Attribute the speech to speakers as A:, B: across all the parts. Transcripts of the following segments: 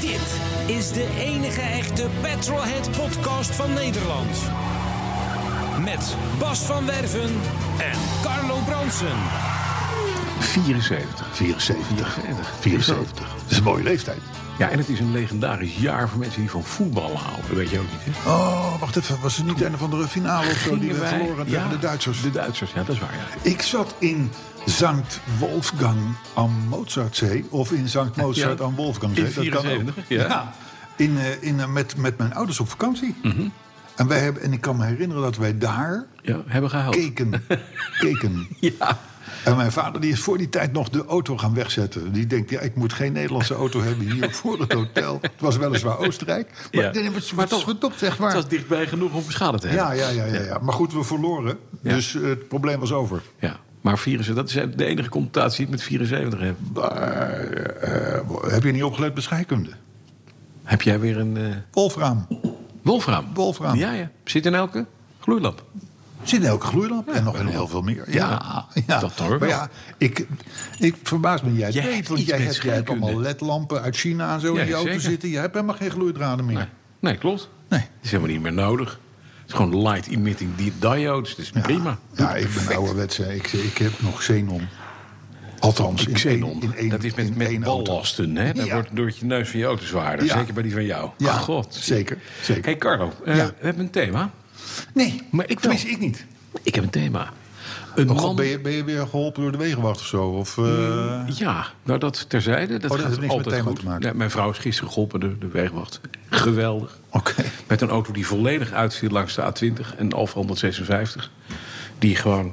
A: Dit is de enige echte Petrolhead podcast van Nederland. Met Bas van Werven en Carlo Bronsen.
B: 74.
C: 74. 74. Dat is een mooie leeftijd.
B: Ja, en het is een legendarisch jaar voor mensen die van voetbal houden. Weet je ook niet, hè?
C: Oh, wacht even. Was het niet een of andere finale of zo die
B: Gingen
C: we
B: wij-
C: verloren tegen
B: ja,
C: de Duitsers?
B: De Duitsers, ja, dat is waar, ja.
C: Ik zat in Sankt Wolfgang am Mozartzee. Of in Sankt Mozart
B: Ja.
C: am Wolfgangzee.
B: In
C: dat kan ook.
B: 74, ja.
C: in, eh, in, eh, met, met mijn ouders op vakantie.
B: Mhm.
C: en, wij hebben, en ik kan me herinneren dat wij daar
B: Ja, hebben gehaald.
C: keken. keken.
B: Ja.
C: En mijn vader die is voor die tijd nog de auto gaan wegzetten. Die denkt, ja, ik moet geen Nederlandse auto hebben hier voor het hotel. Het was weliswaar Oostenrijk. Maar,
B: Ja.
C: nee, nee, wat,
B: Maar
C: wat
B: toch-
C: verdopt, zeg
B: Het
C: maar.
B: was dichtbij genoeg om schade te hebben.
C: Ja, ja, ja, ja, ja. Maar goed, we verloren.
B: Ja.
C: Dus eh, het probleem was over.
B: Ja, Maar 74, dat is de enige computatie die ik met 74 heb.
C: Maar, eh, heb je niet opgelet bij scheikunde?
B: Heb jij weer een eh
C: Wolfraam.
B: wolfraam?
C: Wolfraam.
B: Ja, ja. Zit in elke gloeilamp.
C: Zit in elke gloeilamp. en nog in heel veel meer. Ja,
B: Ja, dat hoor ik
C: Maar
B: wel.
C: ja, ik, ik verbaas me. Jij,
B: Jij
C: weet,
B: hebt
C: want
B: iets
C: jij
B: met
C: hebt, jij hebt
B: scheikunde.
C: allemaal ledlampen uit China en zo
B: Ja,
C: in je auto
B: zeker.
C: zitten. Je hebt helemaal geen gloeidraden meer.
B: Nee, nee klopt.
C: Nee.
B: Dat is helemaal niet meer nodig. Het is gewoon light emitting di- diodes. Dat is prima. Doet
C: Ja,
B: het
C: ik ben
B: perfect.
C: ouderwets. hè. Ik, ik heb nog xenon. Althans, in
B: Xenon.
C: één- in één-
B: dat is
C: in
B: met,
C: één
B: met
C: auto.
B: ballasten. Hè? Dat
C: Ja.
B: wordt door je neus van je auto zwaarder.
C: Ja.
B: Zeker bij die van jou. Oh,
C: Ja,
B: God.
C: zeker, zeker.
B: Hey Carlo, eh,
C: Ja.
B: we hebben een thema.
C: Nee,
B: Maar ik wel.
C: tenminste, ik niet.
B: Ik heb een thema. Een
C: Oh,
B: man...
C: God, ben, je, ben je weer geholpen door de wegenwacht of zo? Of, eh,
B: Ja, nou dat terzijde. Dat,
C: Oh, dat
B: gaat
C: heeft niks met
B: altijd
C: thema
B: goed.
C: te maken.
B: Nee, mijn vrouw is gisteren geholpen door de wegenwacht. Geweldig.
C: Oké.
B: Met een auto die volledig uitviel langs de A20 en Alfa 156. Die gewoon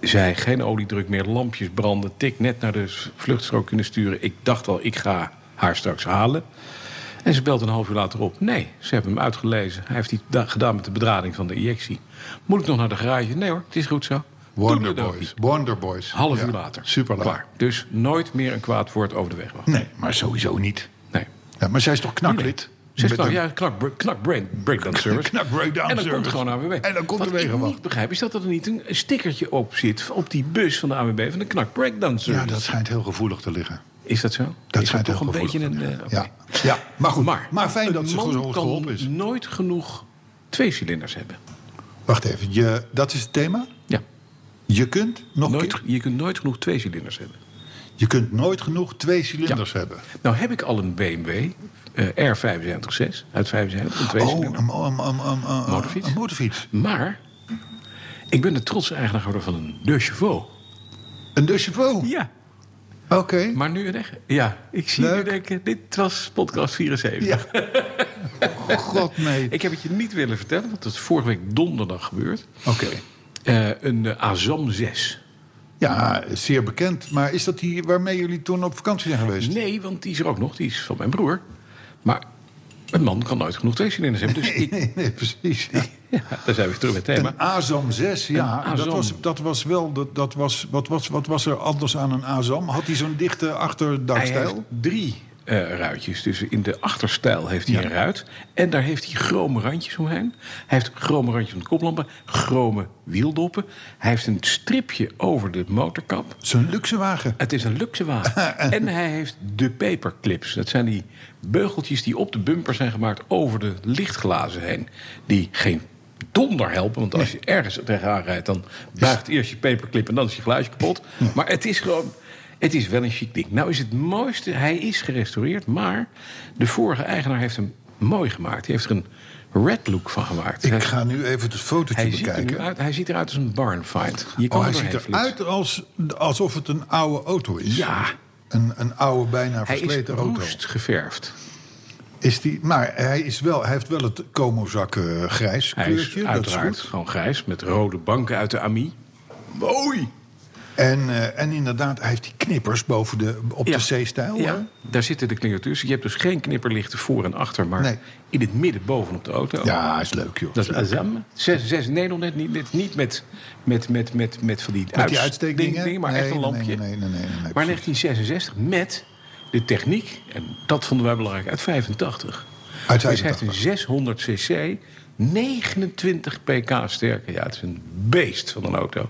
B: zei, geen oliedruk meer, lampjes branden, tik net naar de s- vluchtstrook kunnen sturen. Ik dacht al, ik ga haar straks halen. En ze belt een half uur later op. Nee, ze hebben hem uitgelezen. Hij heeft iets da- gedaan met de bedrading van de injectie. Moet ik nog naar de garage? Nee hoor, het is goed zo. Doe het ook niet.
C: Wonderboys. Wonderboys.
B: Half
C: Ja,
B: uur later.
C: Super
B: klaar.
C: klaar.
B: Dus nooit meer een kwaad woord over de weg. wacht.
C: Nee, maar sowieso niet.
B: Nee.
C: Ja, maar zij is toch
B: Nou,
C: knaklid?
B: Ze is
C: Met
B: knak,
C: een-
B: ja, knak, br- knak brain, breakdown service.
C: Knak breakdown
B: en dan komt
C: service.
B: gewoon AWB.
C: En dan komt
B: Wat
C: de
B: ik
C: wegenwacht.
B: niet begrijp is dat er niet een stickertje op zit... op die bus van de AWB van de knak breakdown service.
C: ja, dat schijnt heel gevoelig te liggen.
B: Is dat zo?
C: Dat
B: is
C: schijnt
B: toch
C: heel
B: een beetje
C: gevoelig
B: een...
C: te
B: eh,
C: liggen.
B: oké.
C: ja. ja, maar goed. Maar,
B: Maar,
C: fijn dat ze
B: een man
C: gewoon
B: kan
C: geholpen is.
B: nooit genoeg twee cilinders hebben.
C: Wacht even, je, dat is het thema?
B: Ja.
C: Je kunt, nog een
B: Nooit,
C: keer,
B: je kunt nooit genoeg twee cilinders hebben.
C: je kunt nooit genoeg twee cilinders hebben.
B: Nou heb ik al een BMW eh, R75-6 uit 75. Een twee
C: Oh,
B: cilinder.
C: een, een, een, een, een- een-
B: Motorfiets?
C: een motorfiets.
B: Maar ik ben de trotse eigenaar geworden van een De Chauveau.
C: Een De Chauveau.
B: Ja.
C: Oké.
B: Maar nu en echt. Ja, ik zie
C: Leuk.
B: je denken, dit was podcast 74.
C: Ja. God, nee.
B: Ik heb het je niet willen vertellen, want dat is vorige week donderdag gebeurd.
C: Oké.
B: Eh, een eh, Azam 6.
C: Ja, zeer bekend. Maar is dat die waarmee jullie toen op vakantie zijn geweest?
B: Nee, want die is er ook nog, die is van mijn broer. Maar een man kan nooit genoeg twee cilinders hebben. Dus ik,
C: Nee, nee, precies.
B: ja, daar zijn we terug bij het thema.
C: Een Azam 6, ja.
B: Een
C: Dat,
B: Azam.
C: was, dat was wel. Dat, dat was, wat, was, wat was er anders aan een Azam? Had hij zo'n dichte
B: Hij
C: achterdakstijl?
B: heeft drie eh, ruitjes. Dus in de achterstijl heeft hij
C: Ja.
B: een ruit. En daar heeft hij chrome randjes omheen. Hij heeft chrome randjes om de koplampen. Chrome wieldoppen. Hij heeft een stripje over de motorkap.
C: Zo'n luxe wagen.
B: Het is een luxe wagen. en hij heeft de paperclips. Dat zijn die beugeltjes die op de bumper zijn gemaakt over de lichtglazen heen. Die geen donder helpen, want als je ergens tegenaan rijdt... dan
C: Dus-
B: buigt eerst je paperclip en dan is je glaasje kapot. Maar het is gewoon... Het is wel een chic ding. Nou is het mooiste... Hij is gerestaureerd, maar de vorige eigenaar heeft hem mooi gemaakt. Hij heeft er een red look van gemaakt.
C: Ik
B: Hij-
C: ga nu even het fotootje
B: hij, ziet er
C: bekijken.
B: nu uit, hij ziet eruit als een barnfight. Je kan
C: oh,
B: er
C: hij ziet
B: doorheen flitsen.
C: eruit als, alsof het een oude auto is.
B: Ja.
C: Een, een oude, bijna
B: Hij is
C: versleten auto.
B: roest geverfd.
C: Is die, maar hij, is wel, hij heeft wel het Como-zak eh, grijs
B: Hij is
C: kleurtje. dat is
B: uiteraard
C: goed.
B: gewoon grijs met rode banken uit de AMI. Mooi!
C: En, eh, en inderdaad, hij heeft die knippers boven de, op de C-stijl. hè?
B: Ja, daar zitten de klingers tussen. Je hebt dus geen knipperlichten voor en achter, maar
C: Nee.
B: in het midden bovenop de auto.
C: Ja, is leuk, joh.
B: Dat is Azam. Zes, zes Nederland net niet, met, niet met, met, met, met, met van die,
C: Met die
B: uitsteek-
C: uitsteekdingen?
B: dingen, maar
C: Nee,
B: echt een
C: nee,
B: lampje.
C: nee, nee, nee, nee, nee,
B: maar
C: precies.
B: 1966 met de techniek, en dat vonden wij belangrijk, uit 85.
C: Uit
B: Dus hij heeft
C: 85.
B: een 600 cc, 29 pk sterke. Ja, het is een beest van een auto.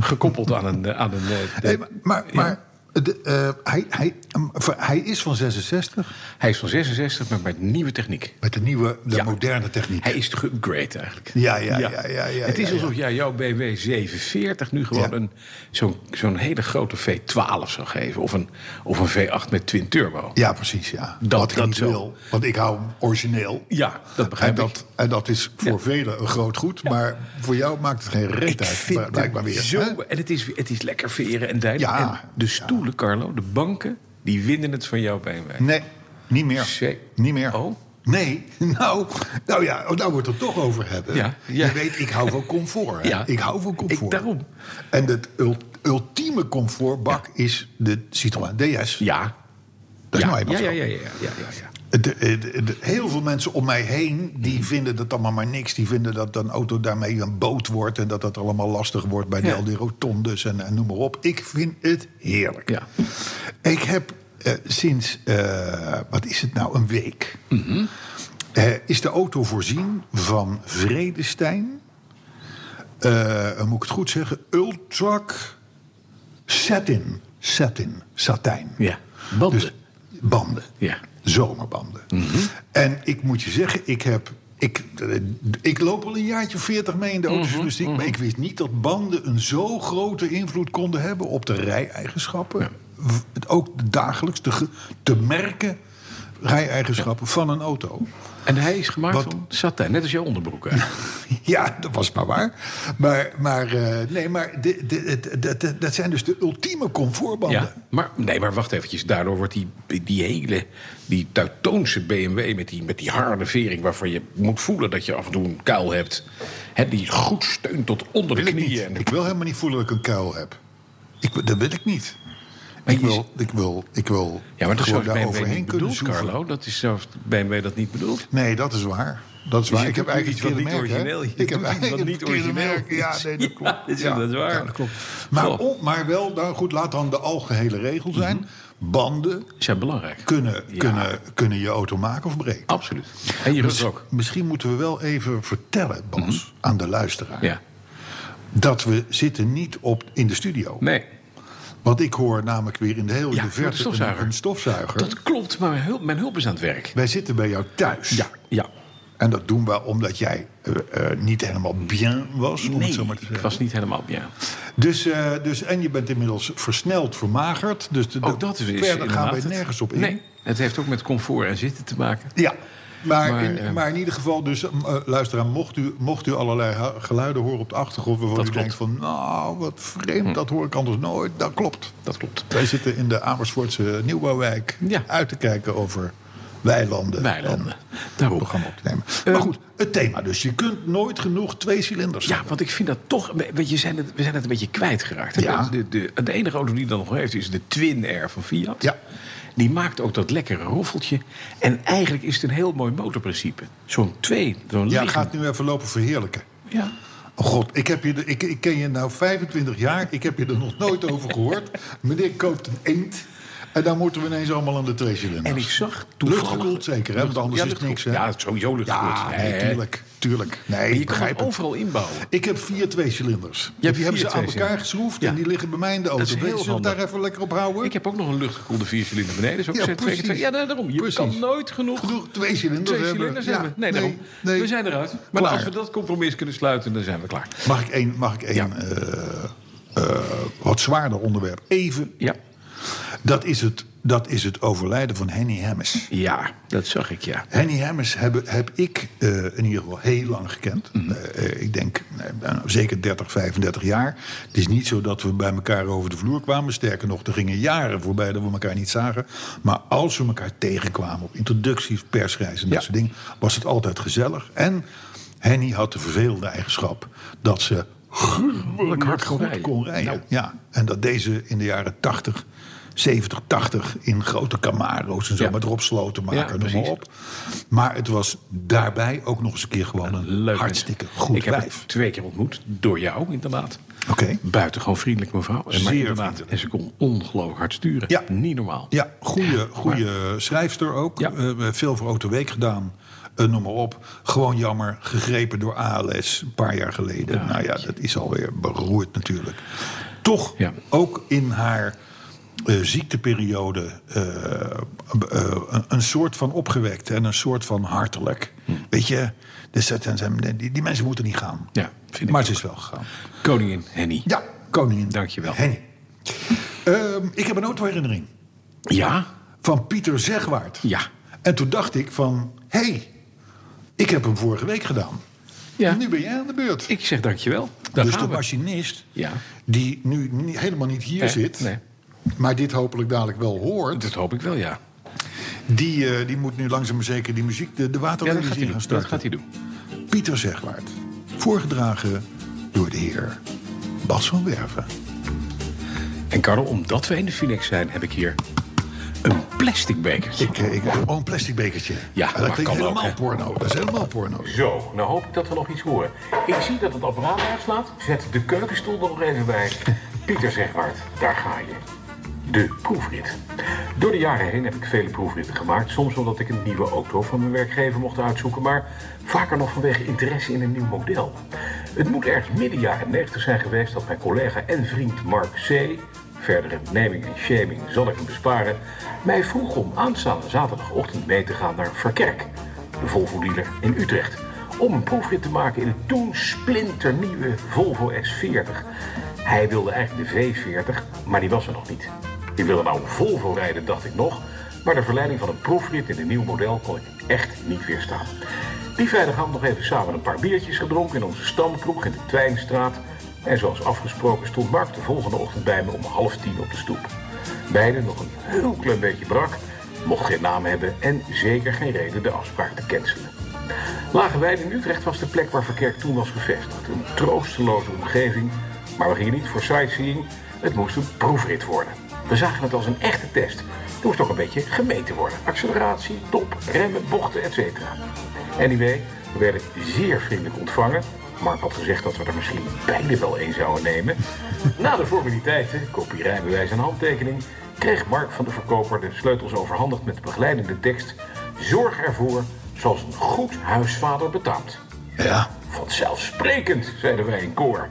B: Gekoppeld aan een... eh, Aan een eh,
C: Hey, maar maar, maar de, eh, hij, hij, hem, ver- hij is van 66
B: Hij is van 66, maar met nieuwe techniek.
C: met de nieuwe, de
B: Ja.
C: moderne techniek.
B: Hij is geupgrade eigenlijk.
C: Ja, ja, ja, ja, ja,
B: Het is
C: ja,
B: alsof jij jouw BW 740 nu gewoon
C: Ja.
B: een, zo'n, zo'n hele grote V12 zou geven. Of een, of een V8 met twin turbo.
C: Ja, precies, ja.
B: Dat-
C: Wat ik
B: dat
C: niet
B: zo.
C: wil, want ik hou hem origineel.
B: Ja, dat
C: En
B: begrijp ik.
C: dat, en dat is voor velen een groot goed, maar voor jou maakt het geen reet
B: Ik
C: uit, bl-
B: vind
C: blijkbaar
B: het
C: weer.
B: zo...
C: hè?
B: En het is, het is lekker veren en dijden.
C: Ja,
B: En de stoelen, Carlo, de banken, die winnen het van jouw BMW.
C: Nee, niet meer.
B: Shit.
C: Niet meer.
B: Oh.
C: Nee, nou, nou ja, nou wordt het toch over hebben.
B: Ja, ja.
C: Je weet, ik hou van comfort. hè.
B: Ja.
C: Ik hou van comfort.
B: Ik- daarom.
C: En het ul- ultieme comfortbak is de Citroën DS.
B: Ja.
C: Dat is
B: ja.
C: nou
B: ja,
C: eenmaal
B: ja,
C: zo.
B: ja, ja, ja, ja, ja.
C: Eh, De- de- de- heel veel mensen om mij heen die vinden dat allemaal maar niks. Die vinden dat een auto daarmee een boot wordt en dat dat allemaal lastig wordt bij
B: Ja.
C: de LD Rotondes en, en noem maar op. Ik vind het heerlijk.
B: Ja.
C: Ik heb eh, sinds, eh, wat is het nou, een week,
B: Mhm.
C: eh, is de auto voorzien van Vredestein. eh, moet ik het goed zeggen? Ultrac Satin. Satin. Satijn.
B: Ja. Banden.
C: Dus banden.
B: Ja.
C: Zomerbanden. En ik moet je zeggen, ik heb. Ik, eh, ik loop al een jaartje 40 mee in de autojournalistiek, maar ik wist niet dat banden een zo grote invloed konden hebben op de rij-eigenschappen. W- het Ook dagelijks te, ge- te merken rij-eigenschappen van een auto.
B: En hij is gemaakt
C: Wat-
B: van satijn, net als jouw onderbroek. eigenlijk.
C: Ja, dat was maar waar. Maar, maar, eh, nee, maar de, de, de- de- dat zijn dus de ultieme comfortbanden.
B: Ja, maar, nee, maar wacht eventjes. Daardoor wordt die, die hele, die Teutoonse BMW met die, met die harde vering... waarvan je moet voelen dat je af en toe een kuil hebt... Hè, die goed steunt tot onder de
C: wil ik niet.
B: knieën. En de-
C: Ik wil helemaal niet voelen dat ik een kuil heb. Ik, dat wil ik niet.
B: Maar
C: Ik
B: je-
C: wil, ik wil, ik wil
B: ja, maar dat is zoals
C: gewoon daar
B: BMW
C: overheen
B: niet
C: kunnen
B: bedoeld,
C: zoeken.
B: Carlo. Dat is zoals BMW dat niet bedoeld.
C: Nee, dat is waar. Dat is
B: Dus
C: waar.
B: je
C: Ik heb
B: doet
C: eigenlijk
B: iets wat
C: het
B: niet
C: verkeerde merk, hè?
B: origineel is. Je
C: Ik heb
B: doet iets wat
C: eigenlijk
B: niet
C: het verkeerde
B: origineel
C: merk. Ja,
B: is. Ja,
C: nee, dat klopt.
B: dat is- dat is waar.
C: ja, dat klopt. Maar,
B: Klopt.
C: om- maar wel, nou goed, laat dan de algehele regel zijn. Banden
B: Die zijn belangrijk.
C: kunnen,
B: Mhm. Ja.
C: kunnen, kunnen je auto maken of breken.
B: Absoluut. En je rug ook. Mhm.
C: Misschien moeten we wel even vertellen, Bas, aan de luisteraar...
B: Ja.
C: dat we zitten niet op, in de studio.
B: Nee.
C: Want ik hoor namelijk weer in de hele
B: Ja,
C: de
B: maar de
C: verte een,
B: stofzuiger.
C: een stofzuiger.
B: Dat klopt, maar mijn hulp, mijn hulp is aan het werk.
C: Wij zitten bij jou thuis.
B: Ja, ja.
C: En dat doen we omdat jij eh, eh, niet helemaal bien was. om het
B: Nee,
C: zo maar te
B: ik
C: zeggen.
B: was niet helemaal... Ja.
C: Dus, eh, dus, en je bent inmiddels versneld, vermagerd. Dus de,
B: Ook dat is
C: verder gaan
B: inderdaad
C: wij
B: het.
C: nergens op in.
B: Nee, het heeft ook met comfort en zitten te maken.
C: Ja. Maar,
B: Maar,
C: in,
B: eh,
C: maar in ieder geval, dus, eh, luisteraar, mocht u, mocht u allerlei ha- geluiden horen op de achtergrond... waarvan
B: Dat
C: u
B: klopt. Hm.
C: denkt van, nou, wat vreemd, dat hoor ik anders nooit. Dat klopt.
B: Dat klopt.
C: Wij zitten in de Amersfoortse nieuwbouwwijk
B: Ja.
C: uit te kijken over weilanden.
B: Weilanden. Eh,
C: En
B: Daarom.
C: programma op te nemen. maar goed, het thema dus. Je kunt nooit genoeg twee cilinders
B: Ja, want ik vind dat toch... Weet je, zijn het, we zijn het een beetje kwijtgeraakt. hè?
C: Ja.
B: De, de, de, enige auto die dat nog heeft is de Twin Air van Fiat.
C: Ja.
B: Die maakt ook dat lekkere roffeltje. En eigenlijk is het een heel mooi motorprincipe. Zo'n twee, zo'n
C: Jij
B: liggend-
C: gaat nu even lopen verheerlijken.
B: Ja.
C: Oh god, ik, heb je de, ik, ik ken je nou 25 jaar. Ik heb je er nog nooit over gehoord. Meneer koopt een eend. En dan moeten we ineens allemaal aan de twee cilinders.
B: En ik zag toevallig...
C: Luchtgekoeld zeker, hè? Want anders is het niks, hè?
B: Ja, sowieso luchtgekoeld.
C: Ja,
B: Nee,
C: nee,
B: hè?
C: tuurlijk. tuurlijk. Nee,
B: Maar je
C: ik
B: kan
C: begrijp
B: het
C: het.
B: overal inbouwen.
C: Ik heb vier tweecilinders. Die
B: hebt
C: hebben
B: vier
C: ze aan elkaar
B: tweecilinders.
C: geschroefd
B: Ja.
C: en die liggen bij mij in de auto.
B: is heel
C: Weet je, zullen we
B: handig.
C: daar even lekker op houden?
B: Ik heb ook nog een luchtgekoelde viercilinder beneden. Dus ook
C: Ja,
B: zet twee keer
C: precies.
B: twee. Ja, nee, daarom. Je
C: Precies.
B: kan nooit genoeg,
C: Genoeg twee cilinders
B: twee
C: hebben.
B: cilinders
C: Ja,
B: hebben. Nee,
C: nee,
B: daarom.
C: nee.
B: We zijn eruit. Maar
C: Klaar.
B: als we dat compromis kunnen sluiten, dan zijn we klaar.
C: Mag ik één, mag ik één
B: Ja.
C: eh, eh, wat zwaarder onderwerp? Even.
B: Ja.
C: Dat is het, dat is het overlijden van Henny Hemmes.
B: Ja, dat zag ik, ja.
C: Henny Hemmers heb, heb ik eh, in ieder geval heel lang gekend.
B: Mhm.
C: Eh, eh, ik denk nee, nou, zeker 30, 35 jaar. Het is niet zo dat we bij elkaar over de vloer kwamen. Sterker nog, er gingen jaren voorbij dat we elkaar niet zagen. Maar als we elkaar tegenkwamen op introducties, persreizen en dat
B: Ja.
C: soort dingen... was het altijd gezellig. En Henny had de vervelende eigenschap dat ze gruwelijk
B: hard kon
C: goed
B: rijden.
C: kon rijden.
B: Nou.
C: Ja, en dat deze in de jaren 80, 70, 80 in grote Camaro's en zo
B: Ja.
C: met Rob
B: Ja,
C: Slotenmaker, noem
B: precies.
C: maar op. Maar het was daarbij ook nog eens een keer gewoon een
B: Leuk.
C: hartstikke
B: mens.
C: goed
B: Ik heb
C: wijf.
B: het twee keer ontmoet, door jou inderdaad.
C: Oké.
B: Buitengewoon vriendelijk mevrouw. En, maar
C: Zeer
B: inderdaad,
C: vriendelijk.
B: en ze kon ongelooflijk hard sturen.
C: Ja.
B: Niet normaal.
C: Ja, goede, goede schrijfster ook.
B: Ja.
C: Eh, veel voor Auto Week gedaan. Eh, noem maar op. Gewoon jammer, gegrepen door ALS een paar jaar geleden. nou ja, dat is alweer beroerd natuurlijk. Toch
B: Ja.
C: ook in haar eh, ziekteperiode eh, eh, een, een soort van opgewekt en een soort van hartelijk.
B: Hmm.
C: Weet je, dus dat, zijn- zijn- die, die mensen moeten niet gaan.
B: Ja, vind ik
C: maar ze
B: ook.
C: is wel gegaan.
B: Koningin Henny.
C: Ja, koningin.
B: Dankjewel.
C: Henny. Ehm, ik heb een autoherinnering
B: Ja?
C: van Pieter Zegwaard.
B: Ja.
C: En toen dacht ik van, hé, hey, ik heb hem vorige week gedaan.
B: Ja.
C: Nu ben jij aan de beurt.
B: Ik zeg dankjewel. Daar
C: dus
B: gaan
C: de
B: we.
C: machinist,
B: Ja.
C: die nu ni- helemaal niet hier
B: Nee,
C: zit...
B: nee.
C: maar dit hopelijk dadelijk wel hoort...
B: Dat hoop ik wel, ja.
C: die, eh, die moet nu langzaam maar zeker die muziek, de, de
B: Ja, dat
C: waterlelies
B: gaat hij
C: in
B: doen.
C: gaan
B: Dat
C: starten.
B: gaat hij doen.
C: Pieter Zegwaard, voorgedragen door de heer Bas van Werven.
B: En Karel, omdat we in de Phoenix zijn, heb ik hier een plastic bekertje.
C: Ik, eh, ik, oh, een plastic bekertje.
B: Ja,
C: dat
B: maar
C: klinkt
B: kan ook,
C: helemaal
B: hè.
C: porno. Dat is helemaal porno.
D: Zo, nou hoop ik dat we nog iets horen. Ik zie dat het apparaat uitslaat. Zet de keukenstoel er nog even bij. Pieter Zegwaard, daar ga je. De proefrit. Door de jaren heen heb ik vele proefritten gemaakt. Soms omdat ik een nieuwe auto van mijn werkgever mocht uitzoeken, maar vaker nog vanwege interesse in een nieuw model. Het moet ergens midden jaren 90 zijn geweest dat mijn collega en vriend Mark C verdere naming en shaming zal ik hem besparen, mij vroeg om aanstaande zaterdagochtend mee te gaan naar Verkerk, de Volvo-dealer in Utrecht, om een proefrit te maken in het toen splinternieuwe Volvo S40. Hij wilde eigenlijk de V40, maar die was er nog niet. Ik wilde nou een Volvo rijden, dacht ik nog, maar de verleiding van een proefrit in een nieuw model kon ik echt niet weerstaan. Die vrijdagavond nog even samen een paar biertjes gedronken in onze stamkroeg in de Twijnstraat, en zoals afgesproken stond Mark de volgende ochtend bij me om half tien op de stoep. Beiden nog een heel klein beetje brak, mocht geen naam hebben en zeker geen reden de afspraak te cancelen. Lagenwijn in Utrecht was de plek waar Verkerk toen was gevestigd. Een troosteloze omgeving, maar we gingen niet voor sightseeing. Het moest een proefrit worden. We zagen het als een echte test. Er moest ook een beetje gemeten worden. Acceleratie, top, remmen, bochten, etc. Anyway, we werden zeer vriendelijk ontvangen. Mark had gezegd dat we er misschien beide wel één zouden nemen. Na de formaliteiten, kopie rijbewijs en handtekening, kreeg Mark van de verkoper de sleutels overhandigd met de begeleidende tekst: Zorg ervoor zoals een goed huisvader betaamt.
C: Ja,
D: Vanzelfsprekend, zeiden wij in koor.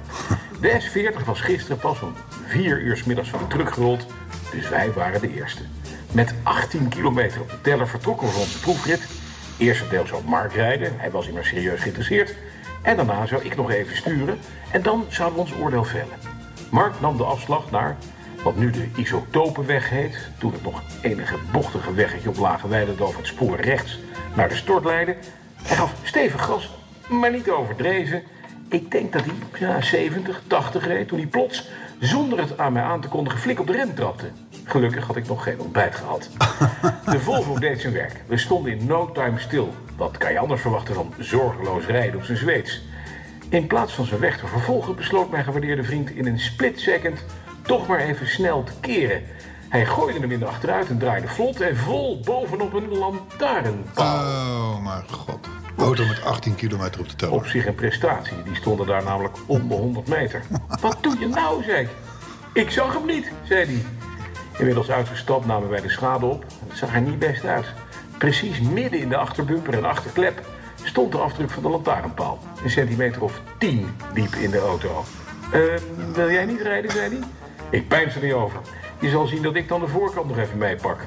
D: De S40 was gisteren pas om vier uur 's middags van de truck gerold, dus wij waren de eerste. Met 18 kilometer op de teller vertrokken we voor onze proefrit. Eerste deel zou Mark rijden, hij was immers serieus geïnteresseerd. En daarna zou ik nog even sturen en dan zouden we ons oordeel vellen. Mark nam de afslag naar wat nu de Isotopenweg heet, toen het nog enige bochtige weggetje op Lage Weide over het spoor rechts naar de stort leidde. Hij gaf stevig gas maar niet overdreven. Ik denk dat hij ja, 70, 80 reed toen hij plots, zonder het aan mij aan te kondigen, flik op de rem trapte. Gelukkig had ik nog geen ontbijt gehad. De Volvo deed zijn werk. We stonden in no time stil. Wat kan je anders verwachten dan zorgeloos rijden op zijn Zweeds? In plaats van zijn weg te vervolgen, besloot mijn gewaardeerde vriend in een split second toch maar even snel te keren. Hij gooide hem in de achteruit en draaide vlot en vol bovenop een lantaarnpaal.
C: Oh, mijn god. Auto met 18 kilometer op de
D: Op
C: teller.
D: zich een prestatie. Die stonden daar namelijk om de 100 meter. Wat doe je nou, zei ik. Ik zag hem niet, zei hij. Inmiddels uitgestapt namen wij de schade op. Het zag er niet best uit. Precies midden in de achterbumper en achterklep stond de afdruk van de lantaarnpaal. Een centimeter of tien diep in de auto. "Eh, wil jij niet rijden, zei hij. Ik pijns er niet over. Je zal zien dat ik dan de voorkant nog even meepak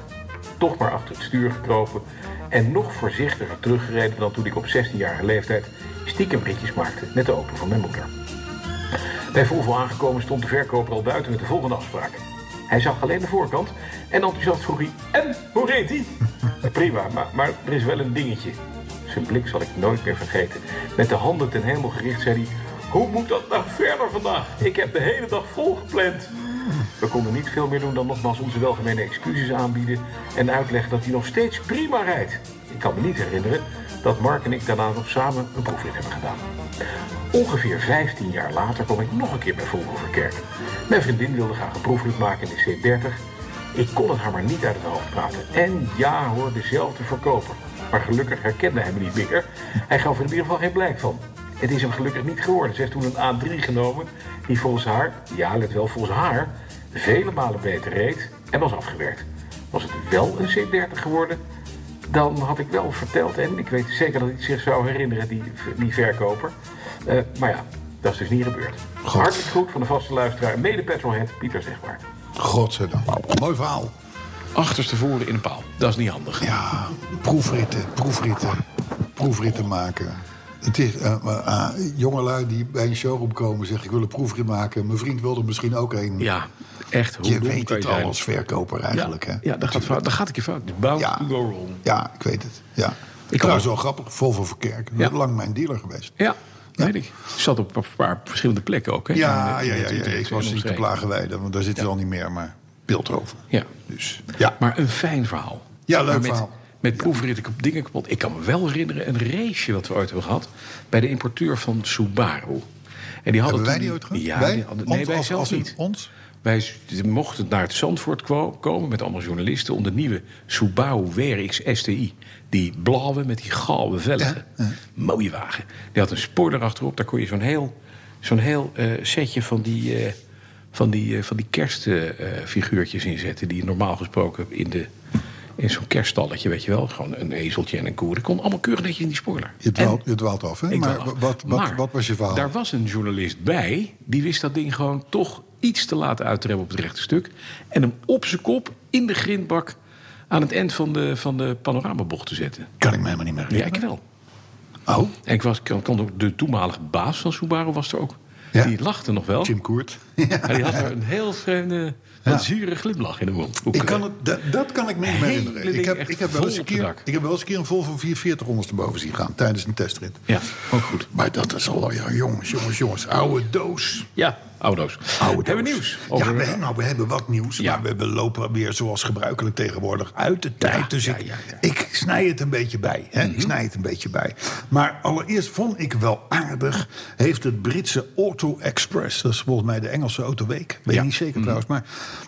D: toch maar achter het stuur gekropen en nog voorzichtiger teruggereden dan toen ik op 16-jarige leeftijd stiekem ritjes maakte met de auto van mijn moeder. Bij Volvo aangekomen stond de verkoper al buiten met de volgende afspraak. Hij zag alleen de voorkant en enthousiast vroeg hij: En hoe reed hij? Prima, maar, maar er is wel een dingetje. Zijn blik zal ik nooit meer vergeten. Met de handen ten hemel gericht zei hij: Hoe moet dat nou verder vandaag? Ik heb de hele dag volgepland. We konden niet veel meer doen dan nogmaals onze welgemene excuses aanbieden en uitleggen dat hij nog steeds prima rijdt. Ik kan me niet herinneren dat Mark en ik daarna nog samen een proefrit hebben gedaan. Ongeveer 15 jaar later kwam ik nog een keer bij Volkenverkerk. Mijn vriendin wilde graag een proefrit maken in de C30. Ik kon het haar maar niet uit het hoofd praten. En ja hoor, dezelfde verkoper. Maar gelukkig herkende hij me niet meer. Hij gaf er in ieder geval geen blijk van. Het is hem gelukkig niet geworden. Ze heeft toen een A3 genomen die volgens haar, ja let wel, volgens haar, vele malen beter reed en was afgewerkt. Was het wel een C30 geworden, dan had ik wel verteld, en ik weet zeker dat hij het zich zou herinneren, die, die verkoper. Eh, maar ja, dat is dus niet gebeurd. Hartelijk goed van de vaste luisteraar, mede petrolhead, Pieter Zegwaard.
C: Godzijdank. Mooi verhaal.
B: Achterstevoren in een paal. Dat is niet handig.
C: Ja, proefritten, proefritten, proefritten maken. Het is eh, eh, ah, jongelui die bij een showroom komen zeggen... ik wil een proefrit maken. Mijn vriend wil er misschien ook een.
B: Ja, echt. Hoe
C: je
B: dom
C: weet
B: kan
C: het
B: zijn?
C: al als verkoper eigenlijk,
B: Ja,
C: hè?
B: ja dat, gaat fout, dat gaat een keer fout. Dus bound
C: Ja.
B: to go wrong.
C: Ja, ik weet het. Ja.
B: kan
C: Ik Trouwens,
B: ook.
C: wel grappig. Volvo Verkerk.
B: Ja.
C: Lang mijn dealer geweest.
B: Ja, weet ik. Zat op een paar verschillende plekken ook. Hè?
C: Ja,
B: In-
C: ja,
B: in- in-
C: ja,
B: in-
C: ja,
B: in-
C: ik was
B: in-
C: niet te
B: in-
C: plagenweide, want daar zit het al niet meer, maar Beeldhoven.
B: Ja.
C: Dus, ja.
B: Maar een fijn verhaal.
C: Ja, leuk
B: Maar met,
C: verhaal.
B: Met proefritten kap- dingen kapot. Ik kan me wel herinneren een raceje wat we ooit hebben gehad... bij de importeur van Subaru. En die hadden
C: Hebben wij
B: toen
C: die ooit gehad?
B: Ja,
C: Wij?
B: die hadden-
C: Ons
B: nee, wij
C: als-
B: zelf
C: als in
B: niet.
C: ons?
B: Wij s- mochten naar het Zandvoort kwa- komen met allemaal journalisten... om de nieuwe Subaru WRX STI. Die blauwe met die gouden velgen. Mooie wagen. Die had een spoiler achterop. Daar kon je zo'n heel, zo'n heel eh, setje van die, eh, van die, eh, van die kerstfiguurtjes eh, in zetten... die je normaal gesproken in, de, in zo'n kerststalletje, weet je wel. Gewoon een ezeltje en een koer. Dat kon allemaal keurig netjes in die spoiler.
C: Je dwaalt,
B: En-
C: je dwaalt af, hè?
B: ik
C: Maar,
B: dwaal af.
C: wat, wat,
B: Maar
C: wat was je verhaal?
B: Daar was een journalist bij. Die wist dat ding gewoon toch iets te laat uit te remmen op het rechte stuk. En hem op zijn kop in de grindbak aan het eind van de, van de panoramabocht te zetten.
C: Kan ik me helemaal niet meer
B: Ja, ik wel.
C: Oh,
B: En ik was, kan, kan ook, de toenmalige baas van Subaru was er ook.
C: Ja.
B: Die lachte nog wel.
C: Jim Koert.
B: Maar die had er een heel vreemde, wat zure glimlach in de mond. Hoe
C: Ik kan het, dat, dat kan ik me niet meer
B: Hele
C: herinneren.
B: ding
C: Ik heb,
B: echt
C: ik, heb
B: vol
C: wel eens een
B: op de
C: keer,
B: dak.
C: ik heb wel eens een keer een Volvo 440 ondersteboven zien gaan tijdens een testrit.
B: Ja, ook goed.
C: Maar dat is al, ja, jongens, jongens, jongens. Oude doos.
B: Ja, oudo's.
C: Oude
B: Hebben we
C: doos.
B: nieuws?
C: Ja,
B: Over-
C: we, hebben- nou, we hebben wat nieuws.
B: Ja.
C: Maar we hebben- lopen weer zoals gebruikelijk tegenwoordig uit de tijd. dus
B: ja,
C: ik,
B: ja, ja. Mhm.
C: ik snij het een beetje bij. Hè? Ik snij het een beetje bij. Maar allereerst vond ik wel aardig... heeft het Britse Auto Express... dat is volgens mij de Engelse Autoweek. Weet
B: Ja. Mhm.
C: niet zeker trouwens. Maar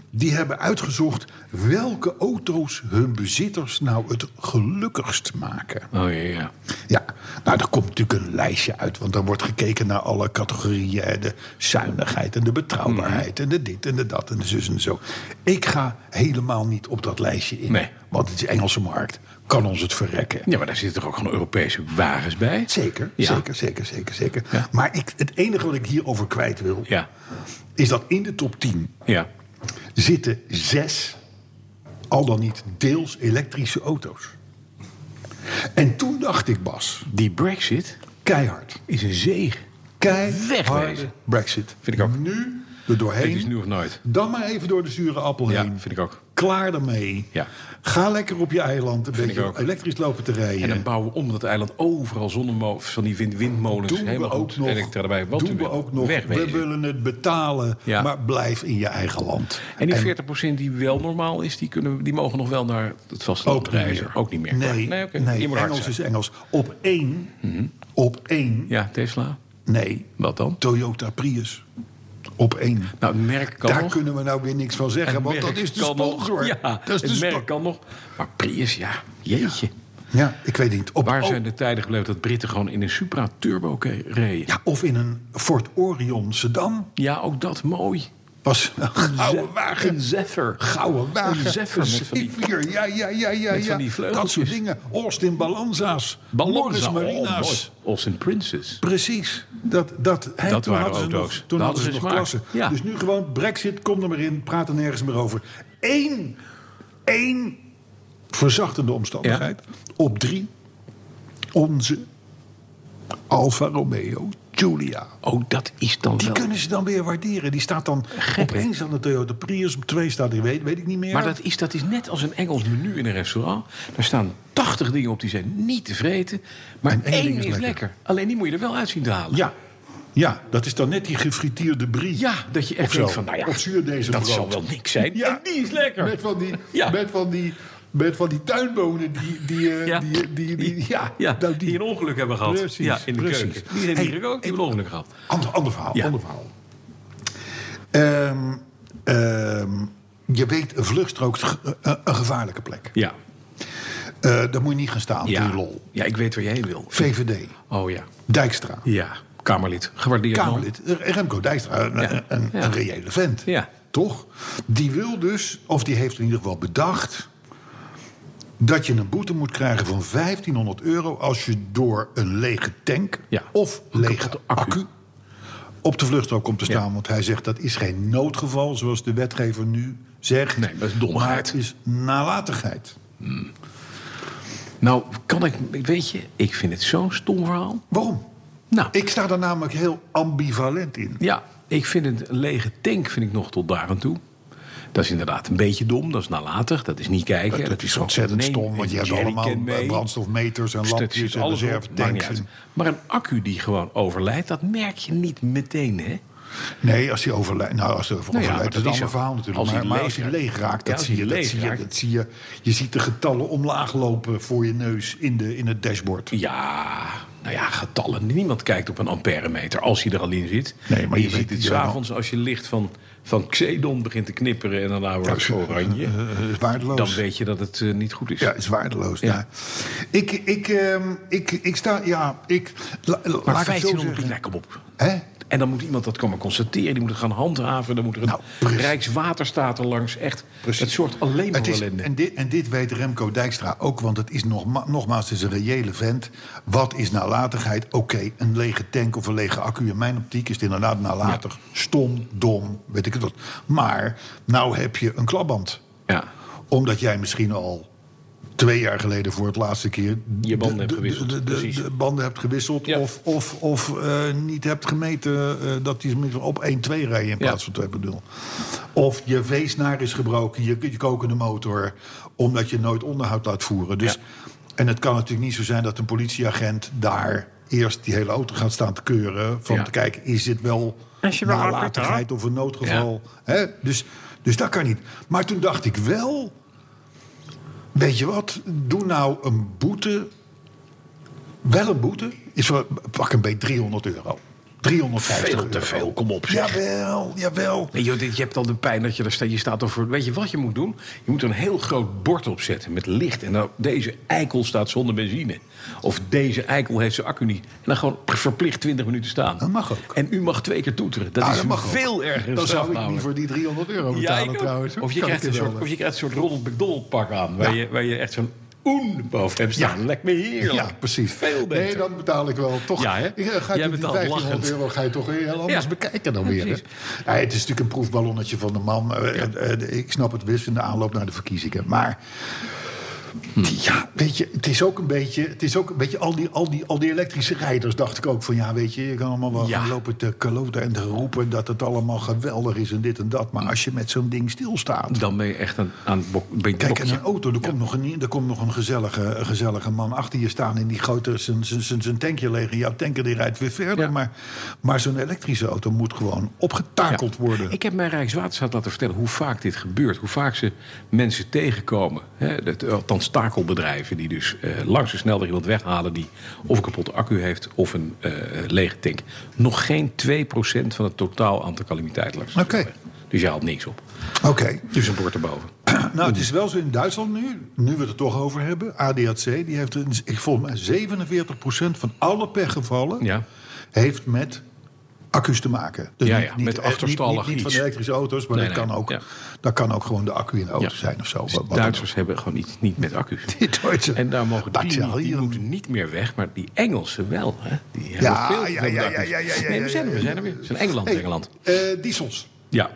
C: die hebben uitgezocht welke auto's hun bezitters nou het gelukkigst maken.
B: Oh ja, ja.
C: Ja, nou, daar komt natuurlijk een lijstje uit. Want dan wordt gekeken naar alle categorieën. hè, De zuinigheid en de
B: Mhm.
C: betrouwbaarheid. En de dit en de dat en de zus en zo. Ik ga helemaal niet op dat lijstje in.
B: Nee.
C: Want het is Engelse markt. Kan ons het verrekken.
B: Ja, maar daar zitten toch ook gewoon Europese wagens bij?
C: Zeker,
B: Ja.
C: zeker, zeker, zeker, zeker.
B: Ja.
C: Maar ik, het enige wat ik hierover kwijt wil...
B: Ja,
C: is dat in de top 10
B: ja.
C: zitten zes, al dan niet deels elektrische auto's. En toen dacht ik, Bas,
B: Die Brexit
C: keihard...
B: is een zege.
C: keiharde
B: Wegwezen.
C: brexit.
B: Vind ik ook.
C: Nu er
B: Het is
C: doorheen.
B: nu of nooit.
C: Dan maar even door de zure appel
B: Ja,
C: heen.
B: vind ik ook.
C: Klaar daarmee.
B: Ja.
C: Ga lekker op je eiland een
B: ik
C: beetje
B: ook.
C: elektrisch lopen te rijden.
B: En dan bouwen we om dat eiland overal zonnemolens van die wind, windmolens.
C: doen we
B: helemaal
C: ook
B: goed.
C: nog.
B: En ik tel erbij wat
C: doen
B: u
C: we
B: wil.
C: ook nog.
B: Wegwezen.
C: We willen het betalen,
B: Ja.
C: maar blijf in je eigen land.
B: En die 40% die wel normaal is, die, kunnen, we- die mogen nog wel naar het vasteland
C: Ook niet
B: reizen.
C: meer.
B: Ook niet meer.
C: Nee, nee,
B: oké. Je moet hard
C: Engels
B: zijn. Mhm.
C: is Engels. Op één, op één,
B: Ja, Tesla.
C: nee,
B: Wat dan?
C: Toyota Prius. Op één.
B: Nou, het merk kan
C: Daar
B: nog.
C: kunnen we nou weer niks van zeggen,
B: Het
C: want
B: merk
C: dat is de
B: kan nog.
C: sponsor.
B: Ja,
C: dat is de
B: het
C: spo-
B: merk kan nog. Maar Prius, ja. Jeetje.
C: Ja, Oh. ik weet niet. Op,
B: Waar
C: op-
B: zijn de tijden gebleven dat Britten gewoon in een Supra Turbo ke- reden?
C: ja, of in een Fort Orion sedan.
B: Ja, ook dat mooi.
C: Was een gouden
B: Ze-
C: wagen.
B: Een Zephyr.
C: Gouden wagen.
B: Een Zephyr met van die-
C: C4, ja, ja, ja, ja.
B: met
C: ja.
B: van die
C: dat
B: vleugeltjes. oh,
C: soort dingen. Austin Balanza's.
B: Ballons.
C: Morris Marina's.
B: Austin Princess.
C: Precies. Dat, dat, hè,
B: Dat
C: toen
B: waren
C: hadden ze
B: auto's.
C: nog- toen
B: Daar
C: hadden ze nog
B: hadden ze
C: klasse.
B: smaak. Ja.
C: Dus nu gewoon brexit, kom er maar in. Praat er nergens meer over. Eén, één verzachtende omstandigheid. Op drie, onze Alfa Romeo Giulia.
B: Oh, dat is dan
C: Die
B: wel...
C: kunnen ze dan weer waarderen. Die staat dan opeens aan de Toyota Prius. Op twee staat die, weet, weet ik niet meer.
B: Maar dat is, dat is net als een Engels menu in een restaurant. Daar staan 80 dingen op die zijn niet te vreten. Maar
C: En één
B: één
C: ding
B: is
C: is
B: lekker.
C: lekker.
B: Alleen die moet je er wel uit zien te halen.
C: Ja. ja, dat is dan net die gefrituurde brie.
B: Ja, dat je echt
C: Of zo.
B: denkt van, nou ja,
C: Of zuurdezenbrood.
B: dat zal wel niks zijn.
C: Ja.
B: En die is lekker.
C: Met van die,
B: Ja.
C: met van die Met van die tuinbonen die... die, eh,
B: Ja.
C: die, die, die- ja,
B: Ja,
C: nou,
B: die, een ongeluk hebben gehad.
C: Precies,
B: ja, in de
C: precies.
B: keuken. Die hebben
C: Hey,
B: hier ook, die hebben een ongeluk gehad.
C: Ander, ander verhaal,
B: Ja.
C: ander verhaal. Ehm, ehm, je weet, een vluchtstrook is ge- eh, een gevaarlijke plek.
B: Ja.
C: Eh daar moet je niet gaan staan,
B: Ja.
C: die lol.
B: ja, ik weet waar jij heen wil.
C: VVD,
B: Oh ja.
C: Dijkstra,
B: Ja, Kamerlid. Gewaardeerd man.
C: Kamerlid, eh, Remco Dijkstra, een,
B: Ja.
C: een,
B: Ja.
C: een reële vent.
B: Ja.
C: Toch? Die wil dus, of die heeft in ieder geval bedacht... dat je een boete moet krijgen van 1500 euro... als je door een lege tank
B: Ja.
C: of lege
B: kapotte accu.
C: accu... op de vluchtstrook komt te staan. Want hij zegt dat is geen noodgeval, zoals de wetgever nu zegt.
B: Nee, dat is domheid.
C: Maar het is nalatigheid.
B: Nou, kan ik... Weet je, ik vind het zo'n stom verhaal.
C: Waarom?
B: Nou,
C: Ik sta daar namelijk heel ambivalent in.
B: ja, ik vind het een lege tank vind ik nog tot daar aan toe. Dat is inderdaad een beetje dom, dat is nalatig, dat is niet kijken.
C: Dat is
B: gewoon
C: ontzettend
B: nemen.
C: stom, want je hebt
B: Jerrycan
C: allemaal
B: mee.
C: brandstofmeters en
B: Dus dat
C: lampjes
B: zit
C: en
B: alles op, maakt niet
C: reservetanks.
B: uit.
C: en-
B: Maar een accu die gewoon overlijdt, dat merk je niet meteen, hè?
C: Nee, als hij overlijdt. Nou, als hij
B: ja,
C: overlijdt,
B: maar
C: dat is
B: dat
C: een
B: is
C: ander
B: zo.
C: verhaal natuurlijk.
B: Als hij
C: maar maar als hij
B: leeg raakt.
C: leeg raakt,
B: Ja,
C: dat,
B: als
C: zie
B: hij
C: je, dat,
B: leeg
C: zie je,
B: raakt.
C: dat zie je. Je ziet de getallen omlaag lopen voor je neus in, de, in het dashboard.
B: Ja, nou ja, getallen. Niemand kijkt op een amperemeter als hij er al in zit.
C: Nee, maar
B: je,
C: je weet
B: ziet het
C: niet helemaal.
B: s'avonds als je licht van, van xedon begint te knipperen en daarna wordt het oranje.
C: Eh, is waardeloos.
B: Dan weet je dat het eh, niet goed is.
C: Ja, is waardeloos.
B: Ja.
C: Ja. Ik, ik, ehm, ik, ik sta. Ja, ik. La, la-
B: maar
C: laat ik het zo
B: 1500 piek,
C: zeggen.
B: nou, kom op.
C: Hè?
B: En dan moet iemand dat komen constateren. Die moet het gaan handhaven. Dan moet er een
C: Nou, precies.
B: Rijkswaterstaat er langs. Echt,
C: Precies.
B: het soort alleen maar
C: Het is,
B: ellende.
C: en, dit, en dit weet Remco Dijkstra ook, want het is nogma- nogmaals het is een reële vent. Wat is nalatigheid? Oké, een lege tank of een lege accu. In mijn optiek is het inderdaad nalatig. Stom, dom, weet ik het wat. Maar nou heb je een klapband.
B: Ja.
C: Omdat jij misschien al twee jaar geleden voor het laatste keer...
B: Je banden
C: de-
B: hebt
C: de-
B: gewisseld,
C: De, de-
B: precies.
C: de banden hebt gewisseld
B: Ja.
C: of, of, of eh, niet hebt gemeten eh, dat die inmiddels op 1-2 rijden in
B: Ja.
C: plaats van 2.0. Of je weesnaar is gebroken, je, je kokende motor... omdat je nooit onderhoud laat voeren. Dus, En het kan natuurlijk niet zo zijn dat een politieagent daar... Eerst die hele auto gaat staan te keuren. Van
B: Ja.
C: te kijken, is dit wel
B: Als je wel wat
C: nalatigheid of een noodgeval. Hè? Dus, dus dat kan niet. Maar toen dacht ik wel... Weet je wat? Doe nou een boete. Wel een boete. Is wel, pak een beetje 300 euro. 350
B: Veel te
C: euro.
B: veel, kom op, zeg.
C: Jawel, jawel.
B: Nee, joh, dit- je hebt al de pijn dat je daar staat. Je staat al voor. Weet je wat je moet doen? Je moet er een heel groot bord opzetten met licht. En dan deze eikel staat zonder benzine. Of deze eikel heeft zijn accu niet. En dan gewoon verplicht 20 minuten staan.
C: Dat mag ook.
B: En u mag twee keer toeteren. Dat
C: Ah,
B: is
C: dat mag ook.
B: veel erger.
C: Dan zou ik niet
B: namelijk.
C: voor die 300 euro
B: Ja,
C: betalen
B: ik ook.
C: trouwens. hoor.
B: Of je,
C: Kan
B: krijgt
C: ik
B: een
C: je wel,
B: soort,
C: hè?
B: of je krijgt een soort Ronald McDonald pak aan. Waar,
C: Ja.
B: je, waar je echt zo'n oen boven hebt staan.
C: Ja.
B: Lijkt me heerlijk.
C: Ja, precies.
B: Veel beter.
C: Nee, dan betaal ik wel toch.
B: Ja, hè?
C: Ik, eh, ga
B: Jij
C: je die
B: betaalt
C: 1500
B: lachend.
C: euro ga je toch weer heel anders
B: Ja.
C: bekijken dan
B: Ja,
C: weer. hè?
B: precies.
C: Ja, het is natuurlijk een proefballonnetje van de man. Eh, eh, eh, ik snap het wist in de aanloop naar de verkiezingen. Maar
B: Hm.
C: die- ja, weet je, het is ook een beetje... Het is ook een beetje al, die, al, die, al die elektrische rijders dacht ik ook van... Ja, weet je, je kan allemaal wel
B: Ja.
C: gaan lopen te kloten en te roepen... dat het allemaal geweldig is en dit en dat. Maar als je met zo'n ding stilstaat...
B: Dan ben je echt aan, aan het bok- ben je
C: Kijk, en
B: blokje.
C: een auto, er komt nog een, er komt nog een gezellige, een gezellige man achter je staan... in die grote, zijn- zijn- zijn zijn tankje leeg. en Jouw tanker die rijdt weer verder.
B: Ja.
C: Maar, maar zo'n elektrische auto moet gewoon opgetakeld
B: Ja.
C: worden.
B: Ik heb mijn Rijkswaterstaat laten vertellen hoe vaak dit gebeurt. Hoe vaak ze mensen tegenkomen. Hè, dat, althans takelbedrijven die dus eh, langs de snelweg iemand weghalen... die of een kapotte accu heeft of een eh, lege tank. Nog geen 2% van het totaal aantal calamiteiten langs de
C: Oké.
B: snelweg. Dus je haalt niks op.
C: Oké,
B: Dus een bord erboven.
C: nou het is wel zo in Duitsland nu, nu we het er toch over hebben... ADAC, die heeft een, ik volgens mij 47% van alle pechgevallen...
B: Ja.
C: heeft met accu's te maken. Dus
B: Ja, ja, met
C: eh,
B: achterstallig
C: Niet, niet, niet van
B: iets.
C: elektrische auto's, maar
B: Nee,
C: dat,
B: nee,
C: kan ook,
B: ja.
C: dat kan ook gewoon de accu in de auto
B: Ja.
C: zijn of zo.
B: Dus
C: wat- wat dan
B: Duitsers hebben gewoon iets niet met accu's.
C: Die Duitsers.
B: En daar mogen
C: Dat
B: die,
C: zal
B: niet- die
C: hier-
B: moeten niet meer weg, maar die Engelsen wel. Hè? Die hebben
C: Ja,
B: veel
C: ja,
B: te
C: ja,
B: veel
C: ja,
B: accu's.
C: ja, ja, ja,
B: Nee, we
C: ja,
B: zijn er, we
C: ja,
B: zijn er weer. We zijn Engeland,
C: Hey,
B: Engeland.
C: eh, diesels.
B: Ja,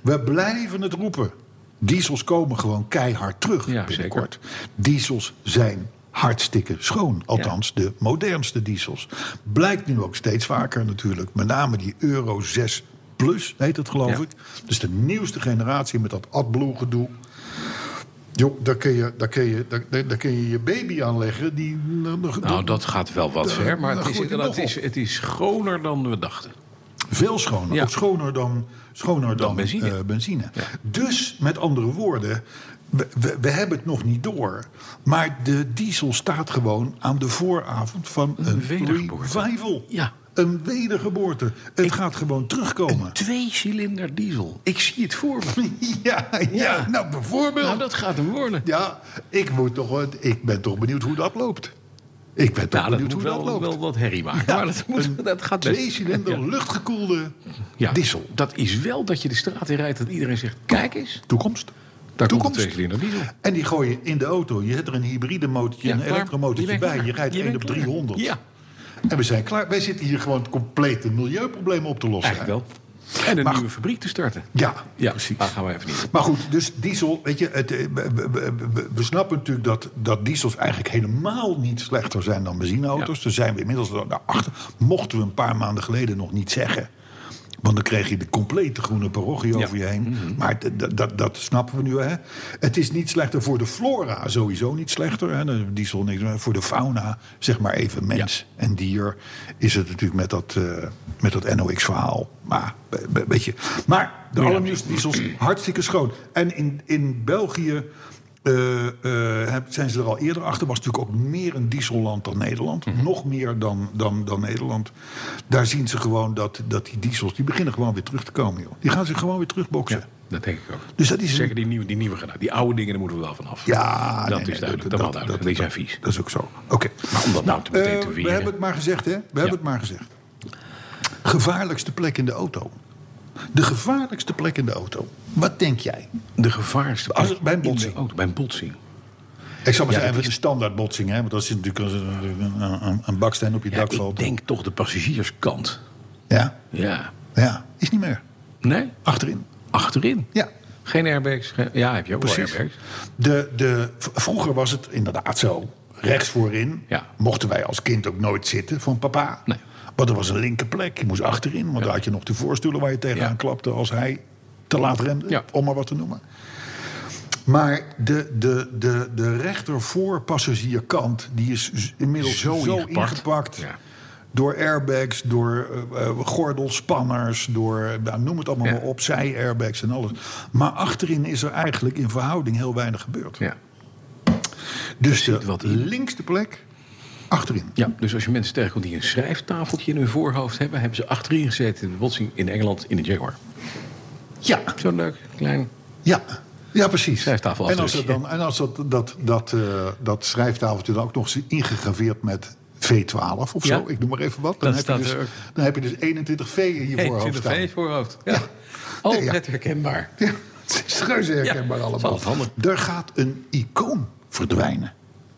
C: We blijven het roepen. Diesels komen gewoon keihard terug
B: Ja,
C: binnenkort. Diesels zijn hartstikke schoon. Althans, de modernste diesels. Blijkt nu ook steeds vaker natuurlijk. Met name die Euro 6 Plus heet het geloof
B: Ja.
C: ik. Dus de nieuwste generatie met dat AdBlue gedoe. Jo, daar kun, je, daar, kun je, daar, daar- daar kun je je baby aan leggen. Die,
B: Nou, dat gaat wel wat ver, maar
C: dan
B: het is,
C: groeit het
B: inderdaad,
C: nog
B: het, is,
C: op.
B: het is schoner dan we dachten.
C: Veel schoner.
B: Ja.
C: Ook schoner dan, schoner dan,
B: benzine.
C: eh, benzine. Dus met andere woorden, we, we, we hebben het nog niet door. Maar de diesel staat gewoon aan de vooravond van een
B: wedergeboorte.
C: revival.
B: Ja.
C: Een wedergeboorte. Het gaat gewoon terugkomen.
B: Twee cilinder diesel. Ik zie het voor me.
C: Ja, ja,
B: Ja.
C: nou bijvoorbeeld.
B: Nou, dat gaat hem worden.
C: Ja, ik, moet toch, wel- ik ben toch benieuwd hoe dat loopt. Ik ben toch
B: Nou, dat
C: benieuwd
B: moet
C: hoe dat
B: wel,
C: loopt.
B: wel wat herrie maken. maar dat, moet, dat gaat best.
C: Twee cilinder luchtgekoelde
B: Ja,
C: diesel.
B: Dat is wel dat je de straat in rijdt dat iedereen zegt... Kijk eens,
C: Toekomst.
B: daar komt een
C: Toekomst.
B: twee cilinder diesel.
C: En die gooi je in de auto. Je hebt er een hybride motortje,
B: Ja,
C: en een
B: klaar.
C: elektromotortje
B: Je bent
C: bij. Je
B: klaar.
C: rijdt
B: Je
C: 1 op
B: bent klaar.
C: 300.
B: Ja,
C: En we zijn klaar. Wij zitten hier gewoon het complete milieuprobleem op te lossen.
B: eigenlijk wel. En een
C: Maar-
B: nieuwe fabriek te starten.
C: Ja,
B: Ja,
C: precies.
B: Daar gaan we even niet.
C: Maar goed, dus diesel, weet je, het, eh, we, we- we- we- we snappen natuurlijk dat, dat diesels eigenlijk helemaal niet slechter zijn dan benzineauto's. Daar zijn we inmiddels wel naar achter. Mochten we een paar maanden geleden nog niet zeggen. Want dan kreeg je de complete groene parochie over je heen. Maar d- d- dat- dat snappen we nu. Hè? Het is niet slechter voor de flora, sowieso niet slechter. Hè? De Diesel niks. Maar voor de fauna, zeg maar even mens en dier, is het natuurlijk met dat, eh, met dat NOx-verhaal. Maar, be- be- weet je. maar de allernieuwste diesels, hartstikke schoon. En in, in België eh, eh, heb- zijn ze er al eerder achter. Was natuurlijk ook meer een dieselland dan Nederland.
B: Mhm.
C: Nog meer dan, dan, dan Nederland. Daar zien ze gewoon dat, dat die diesels... die beginnen gewoon weer terug te komen. Joh. Die gaan zich gewoon weer terugboksen.
B: Dat denk ik ook.
C: Dus dat is... een-
B: Zeker die nieuwe, die nieuwe gedaan. Die oude dingen, daar moeten we wel van af.
C: ja,
B: dat
C: nee,
B: is
C: nee,
B: duidelijk. Dat, mag duidelijk. die zijn vies.
C: Dat is ook zo. Oké.
B: Maar om dat nou te
C: Eh,
B: meteen
C: we hebben het maar gezegd, hè? We hebben het maar gezegd. Gevaarlijkste plek in de auto. De gevaarlijkste plek in de auto. Wat denk jij?
B: De gevaarste
C: Als-
B: plek
C: bij een
B: in de
C: botsing.
B: auto, Oh, bij een botsing.
C: Ik zal maar zeggen, even een standaardbotsing, hè? Want als je natuurlijk een, een, een- een baksteen op je
B: Ja,
C: dak
B: ik
C: valt.
B: denk toch de passagierskant.
C: Ja,
B: Ja.
C: ja, is niet meer.
B: Nee?
C: Achterin.
B: achterin.
C: Ja,
B: Geen airbags. geen- Ja, heb je ook wel
C: precies.
B: airbags.
C: De, de, v- vroeger was het inderdaad zo. Rechts voorin
B: Ja.
C: mochten wij als kind ook nooit zitten van papa.
B: Nee.
C: Want er was een linkerplek. Je moest achterin, want daar had je nog de voorstoelen waar je tegenaan
B: Ja.
C: klapte als hij te laat remde,
B: Ja.
C: om maar wat te noemen. Maar de, de, de, de rechtervoorpassagierkant, die is z- inmiddels zo,
B: Zo
C: ingepakt.
B: ingepakt. Ja.
C: Door airbags, door eh, eh, gordelspanners, door eh, nou, noem het allemaal
B: Ja.
C: maar op, zij-airbags en alles. Maar achterin is er eigenlijk in verhouding heel weinig gebeurd.
B: Ja.
C: dus de
B: zit wat in.
C: linkste plek, achterin.
B: ja, dus als je mensen tegenkomt die een schrijftafeltje in hun voorhoofd hebben... hebben ze achterin gezeten in de botsing in Engeland in de Jaguar.
C: Ja,
B: Zo leuk, klein.
C: ja. Ja, precies.
B: Schrijftafel
C: en als, dat
B: achterin.
C: dan, en als dat, dat, dat, eh, dat schrijftafeltje dan ook nog eens ingegraveerd met V12 of
B: Ja.
C: zo, ik noem maar even wat. Dan,
B: Dat
C: heb je,
B: staat
C: dus,
B: er ook.
C: dan heb je dus 21V in je voorhoofd staan.
B: in voorhoofd. Ja. Altijd
C: Nee, ja.
B: herkenbaar.
C: Ja, het is reuze herkenbaar
B: Ja,
C: allemaal.
B: dat is handig.
C: Er gaat een icoon verdwijnen.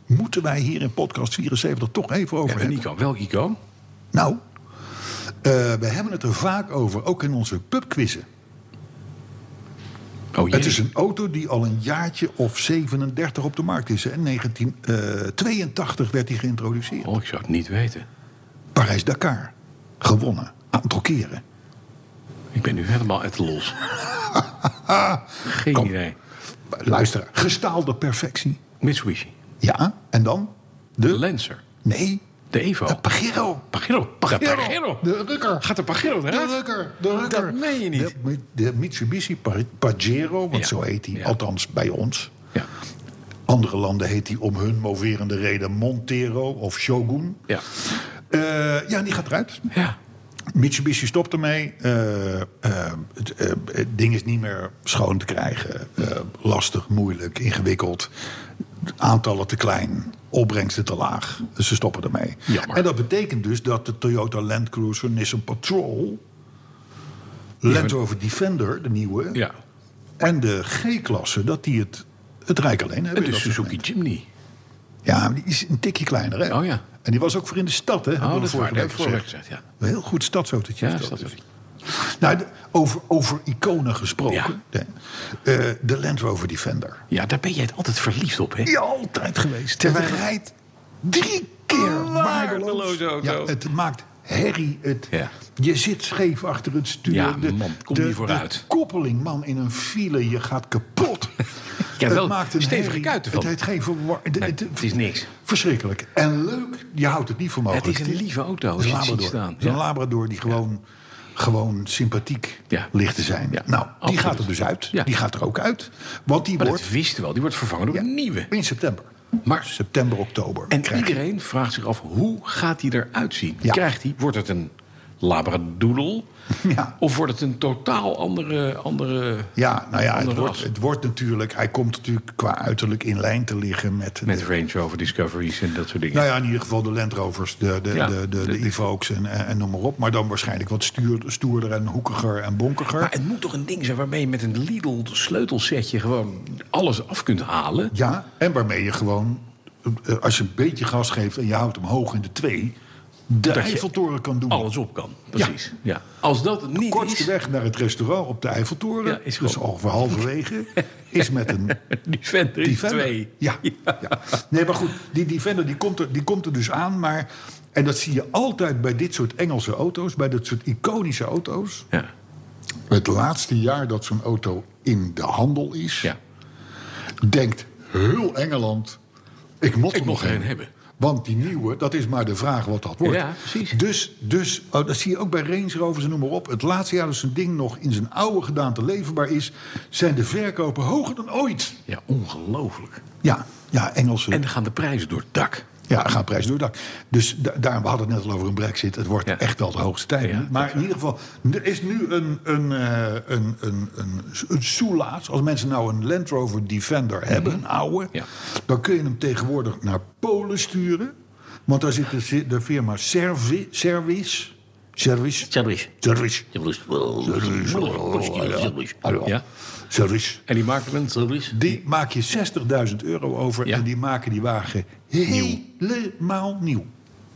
C: Moeten wij hier in podcast 74 toch even over
B: Ja, een
C: hebben?
B: icoon. Welk icoon?
C: Nou, eh, we hebben het er vaak over, ook in onze pubquizzen.
B: Oh, jee.
C: Het is een auto die al een jaartje of 37 op de markt is. En 1982 eh, werd die geïntroduceerd.
B: Oh, ik zou het niet weten.
C: Parijs-Dakar. Gewonnen. Aantal keren.
B: Ik ben nu helemaal uit de los. Geen
C: Kom.
B: idee.
C: Ah, Luister, gestaalde perfectie.
B: Mitsubishi.
C: Ja, en dan?
B: De
C: De?
B: Lancer.
C: Nee,
B: De Evo.
C: de Pagero.
B: Pagero. De Pagero.
C: De Rukker.
B: Gaat de Pagero
C: De
B: eruit?
C: rukker, de rukker.
B: Dat meen je niet.
C: De, Mi- de Mitsubishi Pa- Pajero, want
B: Ja,
C: zo heet hij,
B: ja.
C: althans bij ons.
B: Ja.
C: Andere landen heet hij om hun moverende reden Montero of Shogun.
B: Ja.
C: Eh, ja, die gaat eruit.
B: Ja.
C: Mitsubishi stopt ermee. Eh, eh, het, eh, het ding is niet meer schoon te krijgen. Eh, lastig, moeilijk, ingewikkeld. Aantallen te klein, opbrengsten te laag. Dus ze stoppen ermee.
B: Jammer.
C: En dat betekent dus dat de Toyota Land Cruiser Nissan Patrol... Land Rover Defender, de nieuwe,
B: ja.
C: en de G-klasse... dat die het, het rijk alleen hebben.
B: En
C: in
B: de
C: dat
B: Suzuki
C: segment.
B: Jimny.
C: Ja, maar die is een tikje kleiner, hè?
B: Oh ja.
C: En die was ook voor in de stad, hè? hebben
B: Oh,
C: we
B: dat is waar.
C: vorige
B: Dat heb
C: week
B: ik vorige week
C: gezegd.
B: gezegd, ja.
C: Een heel goed stadsautootje.
B: Ja,
C: is dat. dus.
B: dat is
C: Nou, de- over, over iconen gesproken. hè. Eh, de Land Rover Defender.
B: Ja, daar ben jij het altijd verliefd op, hè?
C: Die altijd geweest. Terwijl het rijdt drie keer waardeloos.
B: Waardeloze auto.
C: Ja, het maakt herrie. Het,
B: Ja.
C: Je zit scheef achter het stuur.
B: Ja, man, kom niet vooruit.
C: De koppeling, man, in een file. Je gaat kapot.
B: Ja, wel stevige
C: herrie.
B: kuiten van.
C: Het heeft geen verwar-
B: Nee, het is niks.
C: Verschrikkelijk. En leuk, je houdt het niet voor mogelijk.
B: Het is een lieve auto,
C: Het
B: als
C: is
B: je
C: een
B: het ziet
C: labrador.
B: staan.
C: Het is een
B: Ja.
C: labrador die gewoon... gewoon sympathiek
B: Ja.
C: ligt te zijn.
B: Ja,
C: nou, die
B: absoluut.
C: gaat er dus uit.
B: Ja.
C: Die gaat er ook uit. Want die
B: Maar
C: wordt
B: dat wisten we wel. Die wordt vervangen door een nieuwe.
C: in september.
B: Maar
C: September, oktober.
B: En
C: krijg je-
B: iedereen vraagt zich af, hoe gaat hij eruit zien?
C: Ja.
B: Krijgt hij, wordt het een labradoodle?
C: Ja.
B: Of wordt het een totaal andere... andere
C: Ja, nou ja, het
B: andere
C: wordt,
B: ras?
C: het wordt natuurlijk... Hij komt natuurlijk qua uiterlijk in lijn te liggen met...
B: Met
C: de-
B: Range Rover Discoveries en dat soort dingen.
C: nou ja, in ieder geval de Land Rovers, de, de,
B: Ja,
C: de, de,
B: de-
C: de Evoques en, en noem maar op. Maar dan waarschijnlijk wat stuur, stoerder en hoekiger en bonkiger.
B: Maar het moet toch een ding zijn waarmee je met een Lidl sleutelsetje gewoon alles af kunt halen?
C: Ja, en waarmee je gewoon, eh, als je een beetje gas geeft en je houdt hem hoog in de twee, de
B: Dat je
C: Eiffeltoren kan doen.
B: Alles op kan, precies. Ja. Als dat het niet
C: Kortste
B: is,
C: weg naar het restaurant op de Eiffeltoren,
B: Ja, is
C: dus
B: gewoon-
C: ongeveer halverwege, is met een
B: die vent is
C: Defender.
B: twee.
C: Ja, ja. Nee, maar goed, die Defender die komt, er, die komt er dus aan, maar... En dat zie je altijd bij dit soort Engelse auto's, bij dit soort iconische auto's.
B: Ja.
C: Het laatste jaar dat zo'n auto in de handel is,
B: Ja.
C: denkt heel Engeland... Ik moet er
B: Ik
C: nog
B: moet er
C: een
B: een hebben.
C: Want die nieuwe, dat is maar de vraag wat dat wordt.
B: Ja, precies.
C: Dus, dus oh, dat zie je ook bij Range Rovers en noem maar op. Het laatste jaar dat zo'n ding nog in zijn oude gedaante leverbaar is... zijn de verkopen hoger dan ooit.
B: Ja, ongelooflijk.
C: Ja, ja Engelse...
B: En dan gaan de prijzen door het dak.
C: Ja, gaat prijs door het dak. Dus da- daar, we hadden het net al over een brexit. Het wordt
B: Ja.
C: echt wel de hoogste tijd.
B: Ja,
C: maar in ieder geval, er is nu een, een, eh, een, een, een, een soelaas. Als mensen nou een Land Rover Defender hebben, een oude...
B: Mhm. Ja.
C: dan kun je hem tegenwoordig naar Polen sturen. Want daar zit de, de firma Servi, Service... Service?
B: Service.
C: Service. Oh,
B: Ja.
C: Service.
B: En die maakt een service?
C: Die maak je 60.000 euro over
B: Ja.
C: en die maken die wagen helemaal nieuw.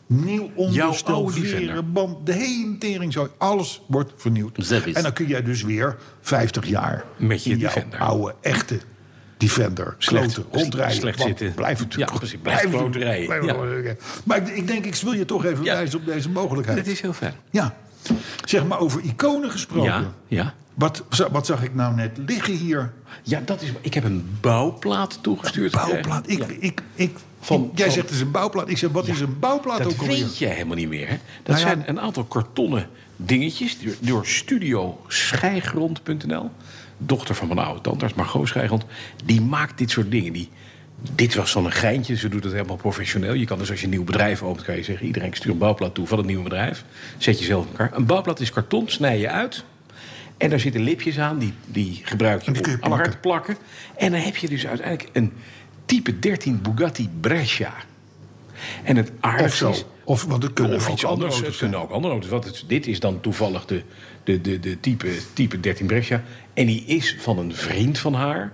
C: Nieuw onderstel,
B: oude Defender.
C: veren, band, de hele tering, zo, alles wordt vernieuwd.
B: Zeg eens.
C: En dan kun jij dus weer 50 jaar
B: Met je
C: in jouw
B: Defender.
C: oude, echte Defender
B: Slecht-
C: kloten, rondrijden.
B: slecht
C: Want
B: zitten.
C: Blijf natuurlijk
B: Ja, precies, blijf
C: blijven
B: kloten rijden.
C: blijven
B: Ja.
C: kloten. Maar ik, ik denk, ik wil je toch even
B: Ja.
C: wijzen op deze mogelijkheid.
B: Dat is heel fijn.
C: Ja, zeg maar over iconen gesproken.
B: Ja, ja.
C: Wat, za- wat zag ik nou net liggen hier?
B: Ja, dat is. Ik heb een bouwplaat toegestuurd.
C: Bouwplaat. Ik,
B: Eh, Ja.
C: ik, ik,
B: Van-
C: jij
B: van-
C: zegt het is een bouwplaat. Ik zeg, wat is een bouwplaat
B: dat
C: ook alweer?
B: weet je helemaal niet meer. hè. Dat
C: Nou ja.
B: zijn een aantal kartonnen dingetjes door, door Studio Schijgrond.nl. Dochter van mijn oude tandarts, Margot Schijgrond. Die maakt dit soort dingen. Die, dit was zo'n geintje. Ze doet het helemaal professioneel. Je kan dus als je een nieuw bedrijf opent, kan je zeggen... iedereen stuurt een bouwplaat toe van het nieuwe bedrijf. Zet je zelf in elkaar. Een bouwplaat is karton, snij je uit... En daar zitten lipjes aan, die, die gebruik je
C: die kun
B: om
C: je
B: aan elkaar te plakken. En dan heb je dus uiteindelijk een type 13 Bugatti Brescia. En het
C: Of
B: aardigste
C: zo.
B: is...
C: Of, want het kunnen
B: Of
C: ook
B: iets
C: andere
B: anders. eh,
C: auto's
B: Het kunnen ook andere auto's. Want het- dit is dan toevallig de, de, de, de type, type 13 Brescia. En die is van een vriend van haar.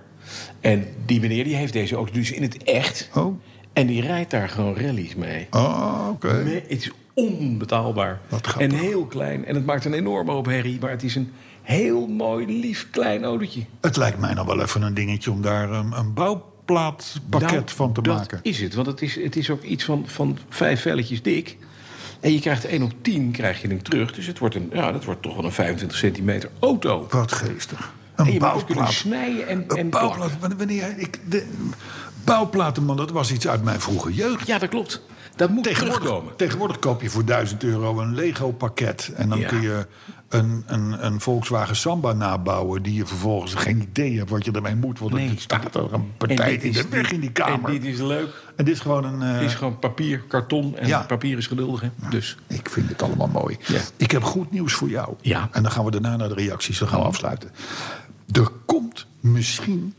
B: En die meneer die heeft deze auto dus in het echt.
C: Oh.
B: En die rijdt daar gewoon rallies mee.
C: zijn. Oh, oké.
B: Nee, het is onbetaalbaar.
C: Wat grappig.
B: En heel klein. En het maakt een enorme hoop herrie. Maar het is een heel mooi, lief, klein autootje.
C: Het lijkt mij nou wel even een dingetje om daar een, een bouwplaatpakket
B: Nou,
C: van te
B: dat
C: maken.
B: is het. Want het is, het is ook iets van, van vijf velletjes dik. En je krijgt 1 op 10 krijg je hem terug. Dus het wordt een, ja, dat wordt toch wel een 25 centimeter auto.
C: Wat geestig.
B: En
C: Een
B: je moet ook kunnen
C: bouwplaat.
B: snijden en, en
C: Een
B: plakken.
C: bouwplaat. Wanneer ik, de, bouwplatenman, dat was iets uit mijn vroege jeugd.
B: Ja, dat klopt. Dat moet terugkomen.
C: tegenwoordig koop je voor 1000 euro een Lego-pakket. En dan
B: Ja.
C: kun je een, een, een Volkswagen Samba nabouwen... die je vervolgens geen idee hebt wat je ermee moet. Want
B: Nee.
C: het staat er een
B: En
C: partij
B: dit
C: in
B: is-
C: de weg in die kamer.
B: En dit is leuk.
C: En dit is gewoon een... eh,
B: Het is gewoon papier, karton. En
C: Ja.
B: papier is geduldig, hè? Dus...
C: Ik vind het allemaal mooi.
B: Ja.
C: Ik heb goed nieuws voor jou.
B: Ja. Oh.
C: En dan gaan we daarna naar de reacties. Dan gaan we afsluiten. Er komt misschien...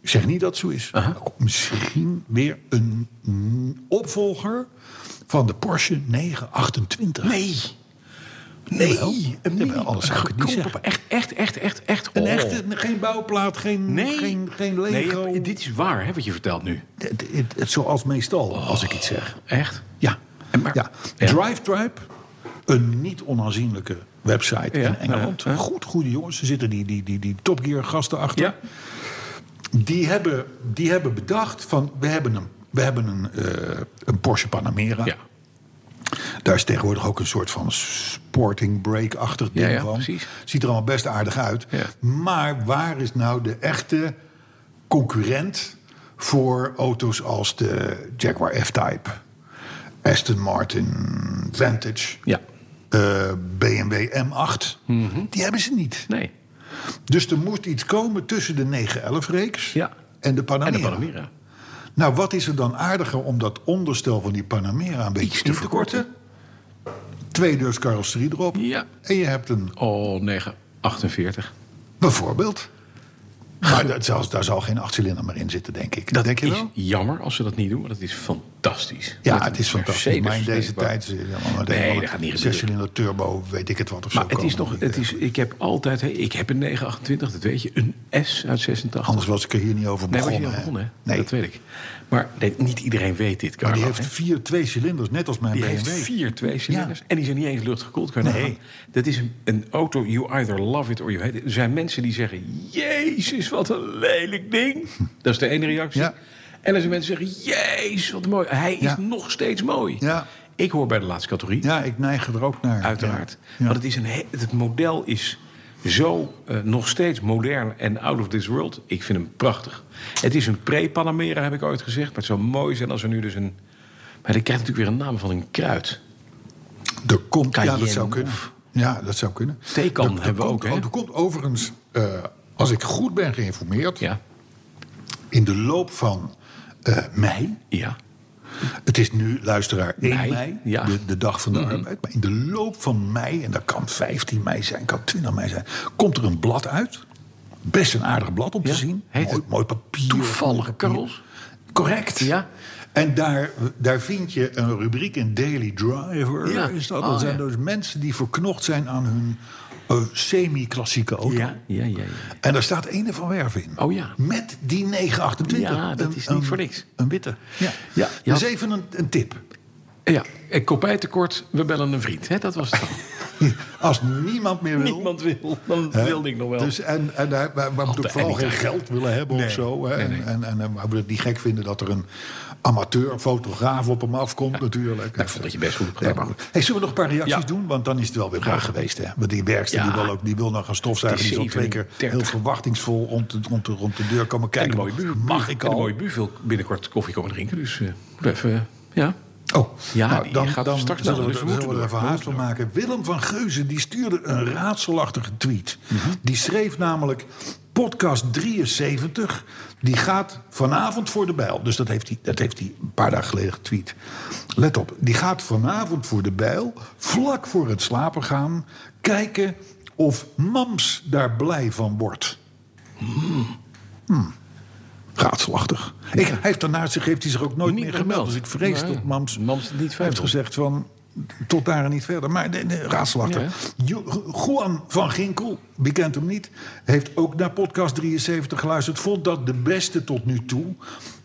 C: Ik zeg niet dat het zo is. Er komt misschien weer een mm, opvolger van de Porsche 928.
B: Nee. Nee.
C: Jawel. Jawel, anders zou ik het niet
B: Goedkope.
C: zeggen.
B: Echt, echt, echt, echt, echt.
C: Een
B: Oh.
C: echte, geen bouwplaat, geen,
B: Nee.
C: geen, geen Lego.
B: Nee, dit is waar, hè, wat je vertelt nu.
C: Het- het- het- zoals meestal, als ik iets zeg.
B: Echt?
C: Ja.
B: En maar-
C: ja.
B: Ja.
C: Drive Tribe, een niet onaanzienlijke website
B: Ja,
C: in Engeland.
B: ja, ja.
C: Goed, goede jongens. Er zitten die, die, die, die Top Gear gasten achter.
B: Ja.
C: Die, hebben, die hebben bedacht van, we hebben een, we hebben een, eh, een Porsche Panamera.
B: Ja.
C: Daar is tegenwoordig ook een soort van sporting break-achtig ding
B: Ja, ja,
C: van.
B: precies.
C: Ziet er allemaal best aardig uit.
B: Ja.
C: Maar waar is nou de echte concurrent voor auto's als de Jaguar F-Type, Aston Martin Vantage?
B: Ja.
C: eh, BMW M8.
B: Mhm.
C: Die hebben ze niet.
B: Nee.
C: Dus er moet iets komen tussen de 911-reeks
B: Ja.
C: en de Panamera.
B: En de Panamera.
C: Nou, wat is er dan aardiger om dat onderstel van die Panamera een beetje
B: Iets te
C: in te korten? Twee deurs carrosserie erop.
B: Ja.
C: En je hebt een
B: Oh, 948.
C: Bijvoorbeeld. Maar dat, zelfs, daar zal geen achtcilinder meer in zitten, denk ik. Dat denk je
B: Is
C: wel?
B: jammer als ze dat niet doen, want dat is fantastisch.
C: Ja,
B: Met
C: het
B: een
C: is fantastisch.
B: Mercedes
C: Maar in deze
B: snackbar.
C: tijd... eh, ja, maar
B: Nee,
C: wel
B: dat gaat niet
C: een
B: gebeuren.
C: Zescilinder turbo, weet ik het wat of
B: Maar
C: zo.
B: het is
C: komen.
B: nog, het is, ik heb altijd, hè, ik heb een 928, dat weet je, een S uit 86.
C: Anders was ik er hier niet over
B: nee, was
C: begonnen.
B: je al begonnen, hè?
C: Nee,
B: Dat weet ik. Maar nee, niet iedereen weet dit,
C: maar
B: Carlo.
C: die
B: hè.
C: heeft vier twee cilinders, net als mijn
B: Die
C: BMW.
B: heeft vier twee-cilinders. En die zijn niet eens luchtgekoeld. Kan je
C: Nee.
B: nagaan. Dat is een, een auto, you either love it or you hate it. Er zijn mensen die zeggen, jezus, wat een lelijk ding. Dat is de ene reactie.
C: Ja.
B: En er zijn mensen die zeggen, jezus, wat mooi. Hij is
C: Ja.
B: nog steeds mooi.
C: Ja.
B: Ik hoor bij de laatste categorie,
C: Ja, ik neig er ook naar.
B: uiteraard.
C: Ja. Ja.
B: Want het, is een, he- het model is zo eh, nog steeds modern en out of this world. Ik vind hem prachtig. Het is een pre-Panamera, heb ik ooit gezegd. Maar het zou mooi zijn als er nu dus een... Maar dat krijgt natuurlijk weer een naam van een kruid.
C: Er komt, ja, dat
B: Cayenne
C: zou kunnen.
B: of-
C: Ja, dat zou kunnen.
B: Taycan
C: Er- er
B: hebben we
C: komt-
B: ook, hè?
C: Er komt overigens, eh, als ik goed ben geïnformeerd...
B: Ja.
C: in de loop van eh, mei...
B: Ja.
C: Het is nu, luisteraar, 1
B: Mei,
C: mei,
B: ja. Mhm.
C: de, de dag van de arbeid. Maar in de loop van mei, en dat kan 15 mei zijn, kan 20 mei zijn... komt er een blad uit. Best een aardig blad om
B: Ja,
C: te zien.
B: heet
C: mooi,
B: het
C: mooi papier.
B: Toevallige
C: mooi papier.
B: Karels?
C: Correct.
B: Ja.
C: En daar, daar vind je een rubriek in Daily Driver.
B: Ja.
C: Is dat?
B: Ah,
C: dat zijn
B: ja.
C: dus mensen die verknocht zijn aan hun eh, semi-klassieke auto.
B: ja, ja.
C: En daar staat Ene van Werf in.
B: Oh ja.
C: Met die 928.
B: Ja, dat is niet voor niks.
C: Een witte. Ja.
B: Ja, je
C: dus
B: had-
C: even een, een tip.
B: ja. En kopijtekort, we bellen een vriend. Hè? Dat was het. dan.
C: Als niemand meer wil.
B: Niemand wil, dan
C: hè,
B: wilde ik nog wel.
C: Dus en, en daar- waar, waar we natuurlijk vooral geen
B: Anytime.
C: geld willen hebben of zo. Hè, En, en, en, en waar we het niet gek vinden dat er een amateur fotograaf op hem afkomt, natuurlijk.
B: Nou, ik vond dat je best goed hebt
C: Nee,
B: gedaan.
C: maar goed. Hey, zullen we nog een paar reacties
B: Ja.
C: doen? Want dan is het wel weer mooi geweest. Hè? Want die werkster
B: Ja.
C: die, wil ook, die wil nog gaan stofzuigen.
B: Het is
C: Die is al twee keer
B: 37.
C: heel verwachtingsvol rond de, rond de, rond de deur
B: en
C: komen
B: de
C: kijken.
B: mooie buur.
C: Mag ik
B: En de
C: al?
B: mooie buur wil binnenkort koffie komen drinken. Dus eh, moet even, eh, ja.
C: Oh,
B: Ja,
C: nou,
B: die
C: dan,
B: gaat
C: dan
B: straks
C: zullen
B: wel,
C: we,
B: dus we
C: zullen
B: moeten
C: we er even
B: door.
C: haast van maken. Willem van Geuzen die stuurde een raadselachtige tweet.
B: Mhm.
C: Die schreef namelijk... Podcast 73, die gaat vanavond voor de bijl. Dus dat heeft hij, dat heeft hij een paar dagen geleden getweet. Let op, die gaat vanavond voor de bijl... vlak voor het slapen gaan... kijken of Mams daar blij van wordt. Hmm. Raadselachtig. Ik, hij heeft daarna zich, heeft hij zich ook nooit
B: Niet
C: meer
B: gemeld.
C: gemeld. Dus ik vrees
B: Ja, ja.
C: dat Mams,
B: Mams het niet verder
C: heeft
B: wil.
C: gezegd van tot daar en niet verder. Maar nee, nee, raadselachtig. Jo- Juan van Ginkel, wie kent hem niet, heeft ook naar podcast 73 geluisterd. Vond dat de beste tot nu toe.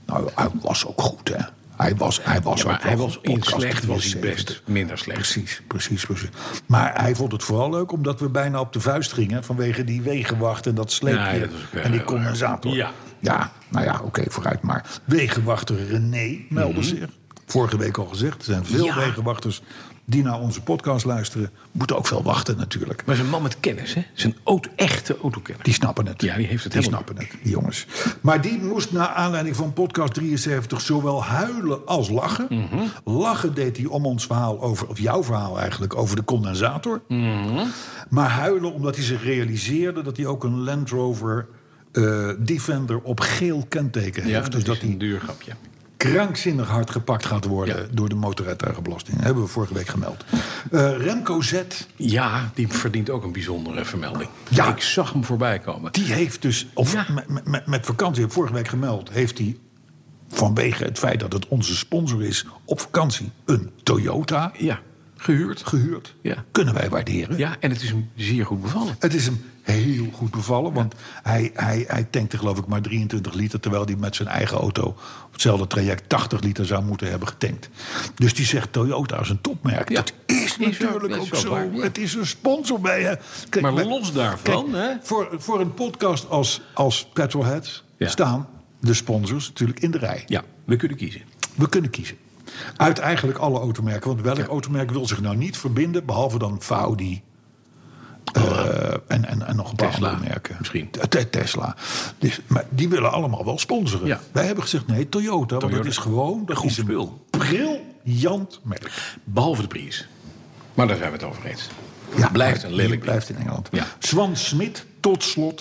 C: Nou, hij was ook goed, hè? Hij was, hij was
B: maar
C: ook wel
B: hij
C: goed.
B: was in
C: Podcast
B: slecht was hij
C: 73.
B: best. Minder slecht.
C: Precies, precies, precies. Maar hij vond het vooral leuk omdat we bijna op de vuist gingen... vanwege die wegenwacht en dat sleepje
B: Ja, dat was ook, eh,
C: en die
B: heel
C: condensator.
B: erg. Ja.
C: ja, nou ja, oké, vooruit maar. Wegenwachter René meldde zich. Vorige week al gezegd, er zijn veel
B: Mhm. Ja.
C: wegenwachters... die naar onze podcast luisteren. Moeten ook veel wachten natuurlijk.
B: Maar zijn man met kennis, hè? Zijn auto, echte autokenner.
C: Die snappen het.
B: Ja, die heeft het
C: Die
B: helemaal.
C: snappen het, die jongens. Maar die moest naar aanleiding van podcast 73 zowel huilen als lachen.
B: Mhm.
C: Lachen deed hij om ons verhaal over, of jouw verhaal eigenlijk, over de condensator.
B: Mhm.
C: Maar huilen omdat hij zich realiseerde dat hij ook een Land Rover eh, Defender op geel kenteken heeft.
B: ja,
C: dus dat
B: is
C: hij
B: een duur grapje.
C: krankzinnig hard gepakt gaat worden
B: Ja.
C: door de motorrijtuigenbelasting. Hebben we vorige week gemeld. Eh, Remco Z,
B: Ja, die verdient ook een bijzondere vermelding.
C: Ja.
B: Ik zag hem voorbij komen.
C: Die heeft dus, of
B: Ja.
C: met, met, met vakantie, heb ik vorige week gemeld, heeft hij vanwege het feit dat het onze sponsor is, op vakantie een Toyota
B: Ja, gehuurd.
C: gehuurd.
B: Ja.
C: Kunnen wij waarderen.
B: Ja, en het is hem zeer goed bevallen.
C: Het is hem heel goed bevallen, want hij, hij, hij tankte geloof ik maar 23 liter... terwijl hij met zijn eigen auto op hetzelfde traject 80 liter zou moeten hebben getankt. Dus die zegt Toyota is een topmerk.
B: Ja.
C: Dat is
B: ook-
C: natuurlijk
B: dat is
C: ook
B: ook
C: zo.
B: waar, ja.
C: Het is een sponsor bij je. Kijk,
B: Maar
C: bij-
B: los daarvan,
C: kijk,
B: hè?
C: Voor, voor een podcast als, als Petrolheads
B: Ja.
C: staan de sponsors natuurlijk in de rij.
B: Ja, we kunnen kiezen.
C: We kunnen kiezen. Uit eigenlijk alle automerken. Want welk automerk wil zich nou niet verbinden... behalve dan Audi eh, en, en, en nog een paar
B: Tesla,
C: andere merken.
B: misschien.
C: Te- te- Tesla. Dus, maar die willen allemaal wel sponsoren.
B: Ja.
C: Wij hebben gezegd, nee, Toyota. Want
B: Toyota.
C: dat is gewoon dat
B: Goed
C: is een
B: spul.
C: briljant merk.
B: Behalve de Prius. Maar daar zijn we het over eens.
C: Ja,
B: blijft
C: maar
B: een lelijk
C: die blijft in Engeland.
B: Ja. Mhm.
C: Swan Smit, tot slot.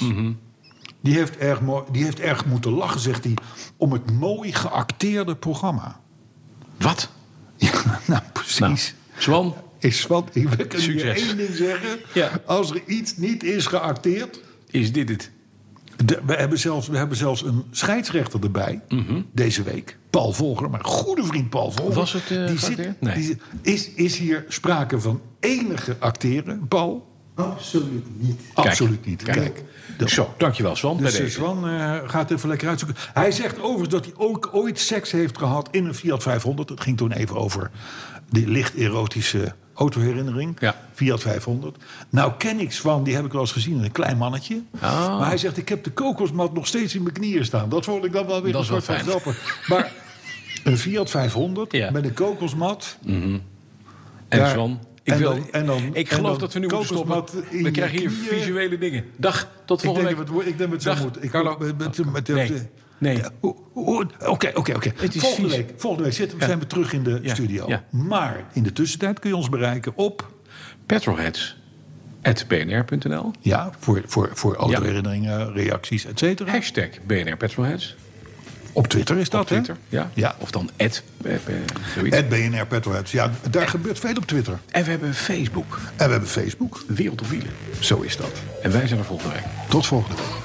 C: die, heeft erg mooi, die heeft erg moeten lachen, zegt hij. Om het mooi geacteerde programma.
B: Wat?
C: Ja, nou precies.
B: Nou, Swan,
C: Is Swan, ik wil je
B: Succes.
C: één ding zeggen.
B: Ja.
C: Als er iets niet is geacteerd.
B: is dit het?
C: de- we, hebben zelfs, we hebben zelfs een scheidsrechter erbij deze week. Paul Volger, mijn goede vriend Paul Volger.
B: Mhm. Was het, eh,
C: die
B: geacteerd?
C: zit,
B: Nee.
C: die zit- is, is hier sprake van enige acteren, Paul?
E: Absoluut niet.
C: Absoluut niet.
B: Kijk.
C: dat-
B: Zo, dankjewel Swan. bij
C: Dus eh,
B: deze.
C: Swan eh, gaat even lekker uitzoeken. Hij zegt overigens dat hij ook ooit seks heeft gehad in een Fiat 500. Het ging toen even over die licht erotische autoherinnering.
B: Ja.
C: Fiat 500. Nou ken ik Swan, die heb ik wel eens gezien, een klein mannetje.
B: Ah.
C: Maar hij zegt, ik heb de kokosmat nog steeds in mijn knieën staan. Dat vond ik dan wel weer
B: Dat
C: een
B: is wel
C: soort van
B: fijn.
C: grappig. Maar een Fiat 500
B: Ja. Mhm.
C: met een kokosmat.
B: En
C: daar-
B: Swan, ik,
C: en
B: wil,
C: dan- en dan-
B: ik
C: en
B: geloof
C: dan
B: dat we nu moeten stoppen.
C: kokosmat in
B: We
C: je
B: krijgen hier
C: knieën.
B: visuele dingen. Dag, tot
C: Ik
B: volgende
C: denk,
B: week.
C: dat we het, ik denk dat het
B: Dag,
C: zo moet. Ik,
B: Carlo.
C: met, met, met,
B: Oh, Nee, nee.
C: Oeh, oeh, Oké, oké, oké.
B: is
C: Volgende
B: vies.
C: week, volgende week zitten, we- zijn we terug in de
B: Ja,
C: studio.
B: ja.
C: Maar in de tussentijd kun je ons bereiken op...
B: petrolheads.bnr.nl
C: Ja, voor, voor, voor autoherinneringen, reacties, et cetera.
B: Hashtag BNR Petrolheads.
C: Op Twitter is dat,
B: Op Twitter.
C: hè?
B: Ja.
C: ja.
B: Of dan at, eh, eh, zoiets.
C: Het BNR Petroheads. Ja, daar gebeurt veel op Twitter.
B: En we hebben Facebook.
C: En we hebben Facebook.
B: Wereld op wielen.
C: Zo is dat.
B: En wij zijn er volgende week.
C: Tot volgende week.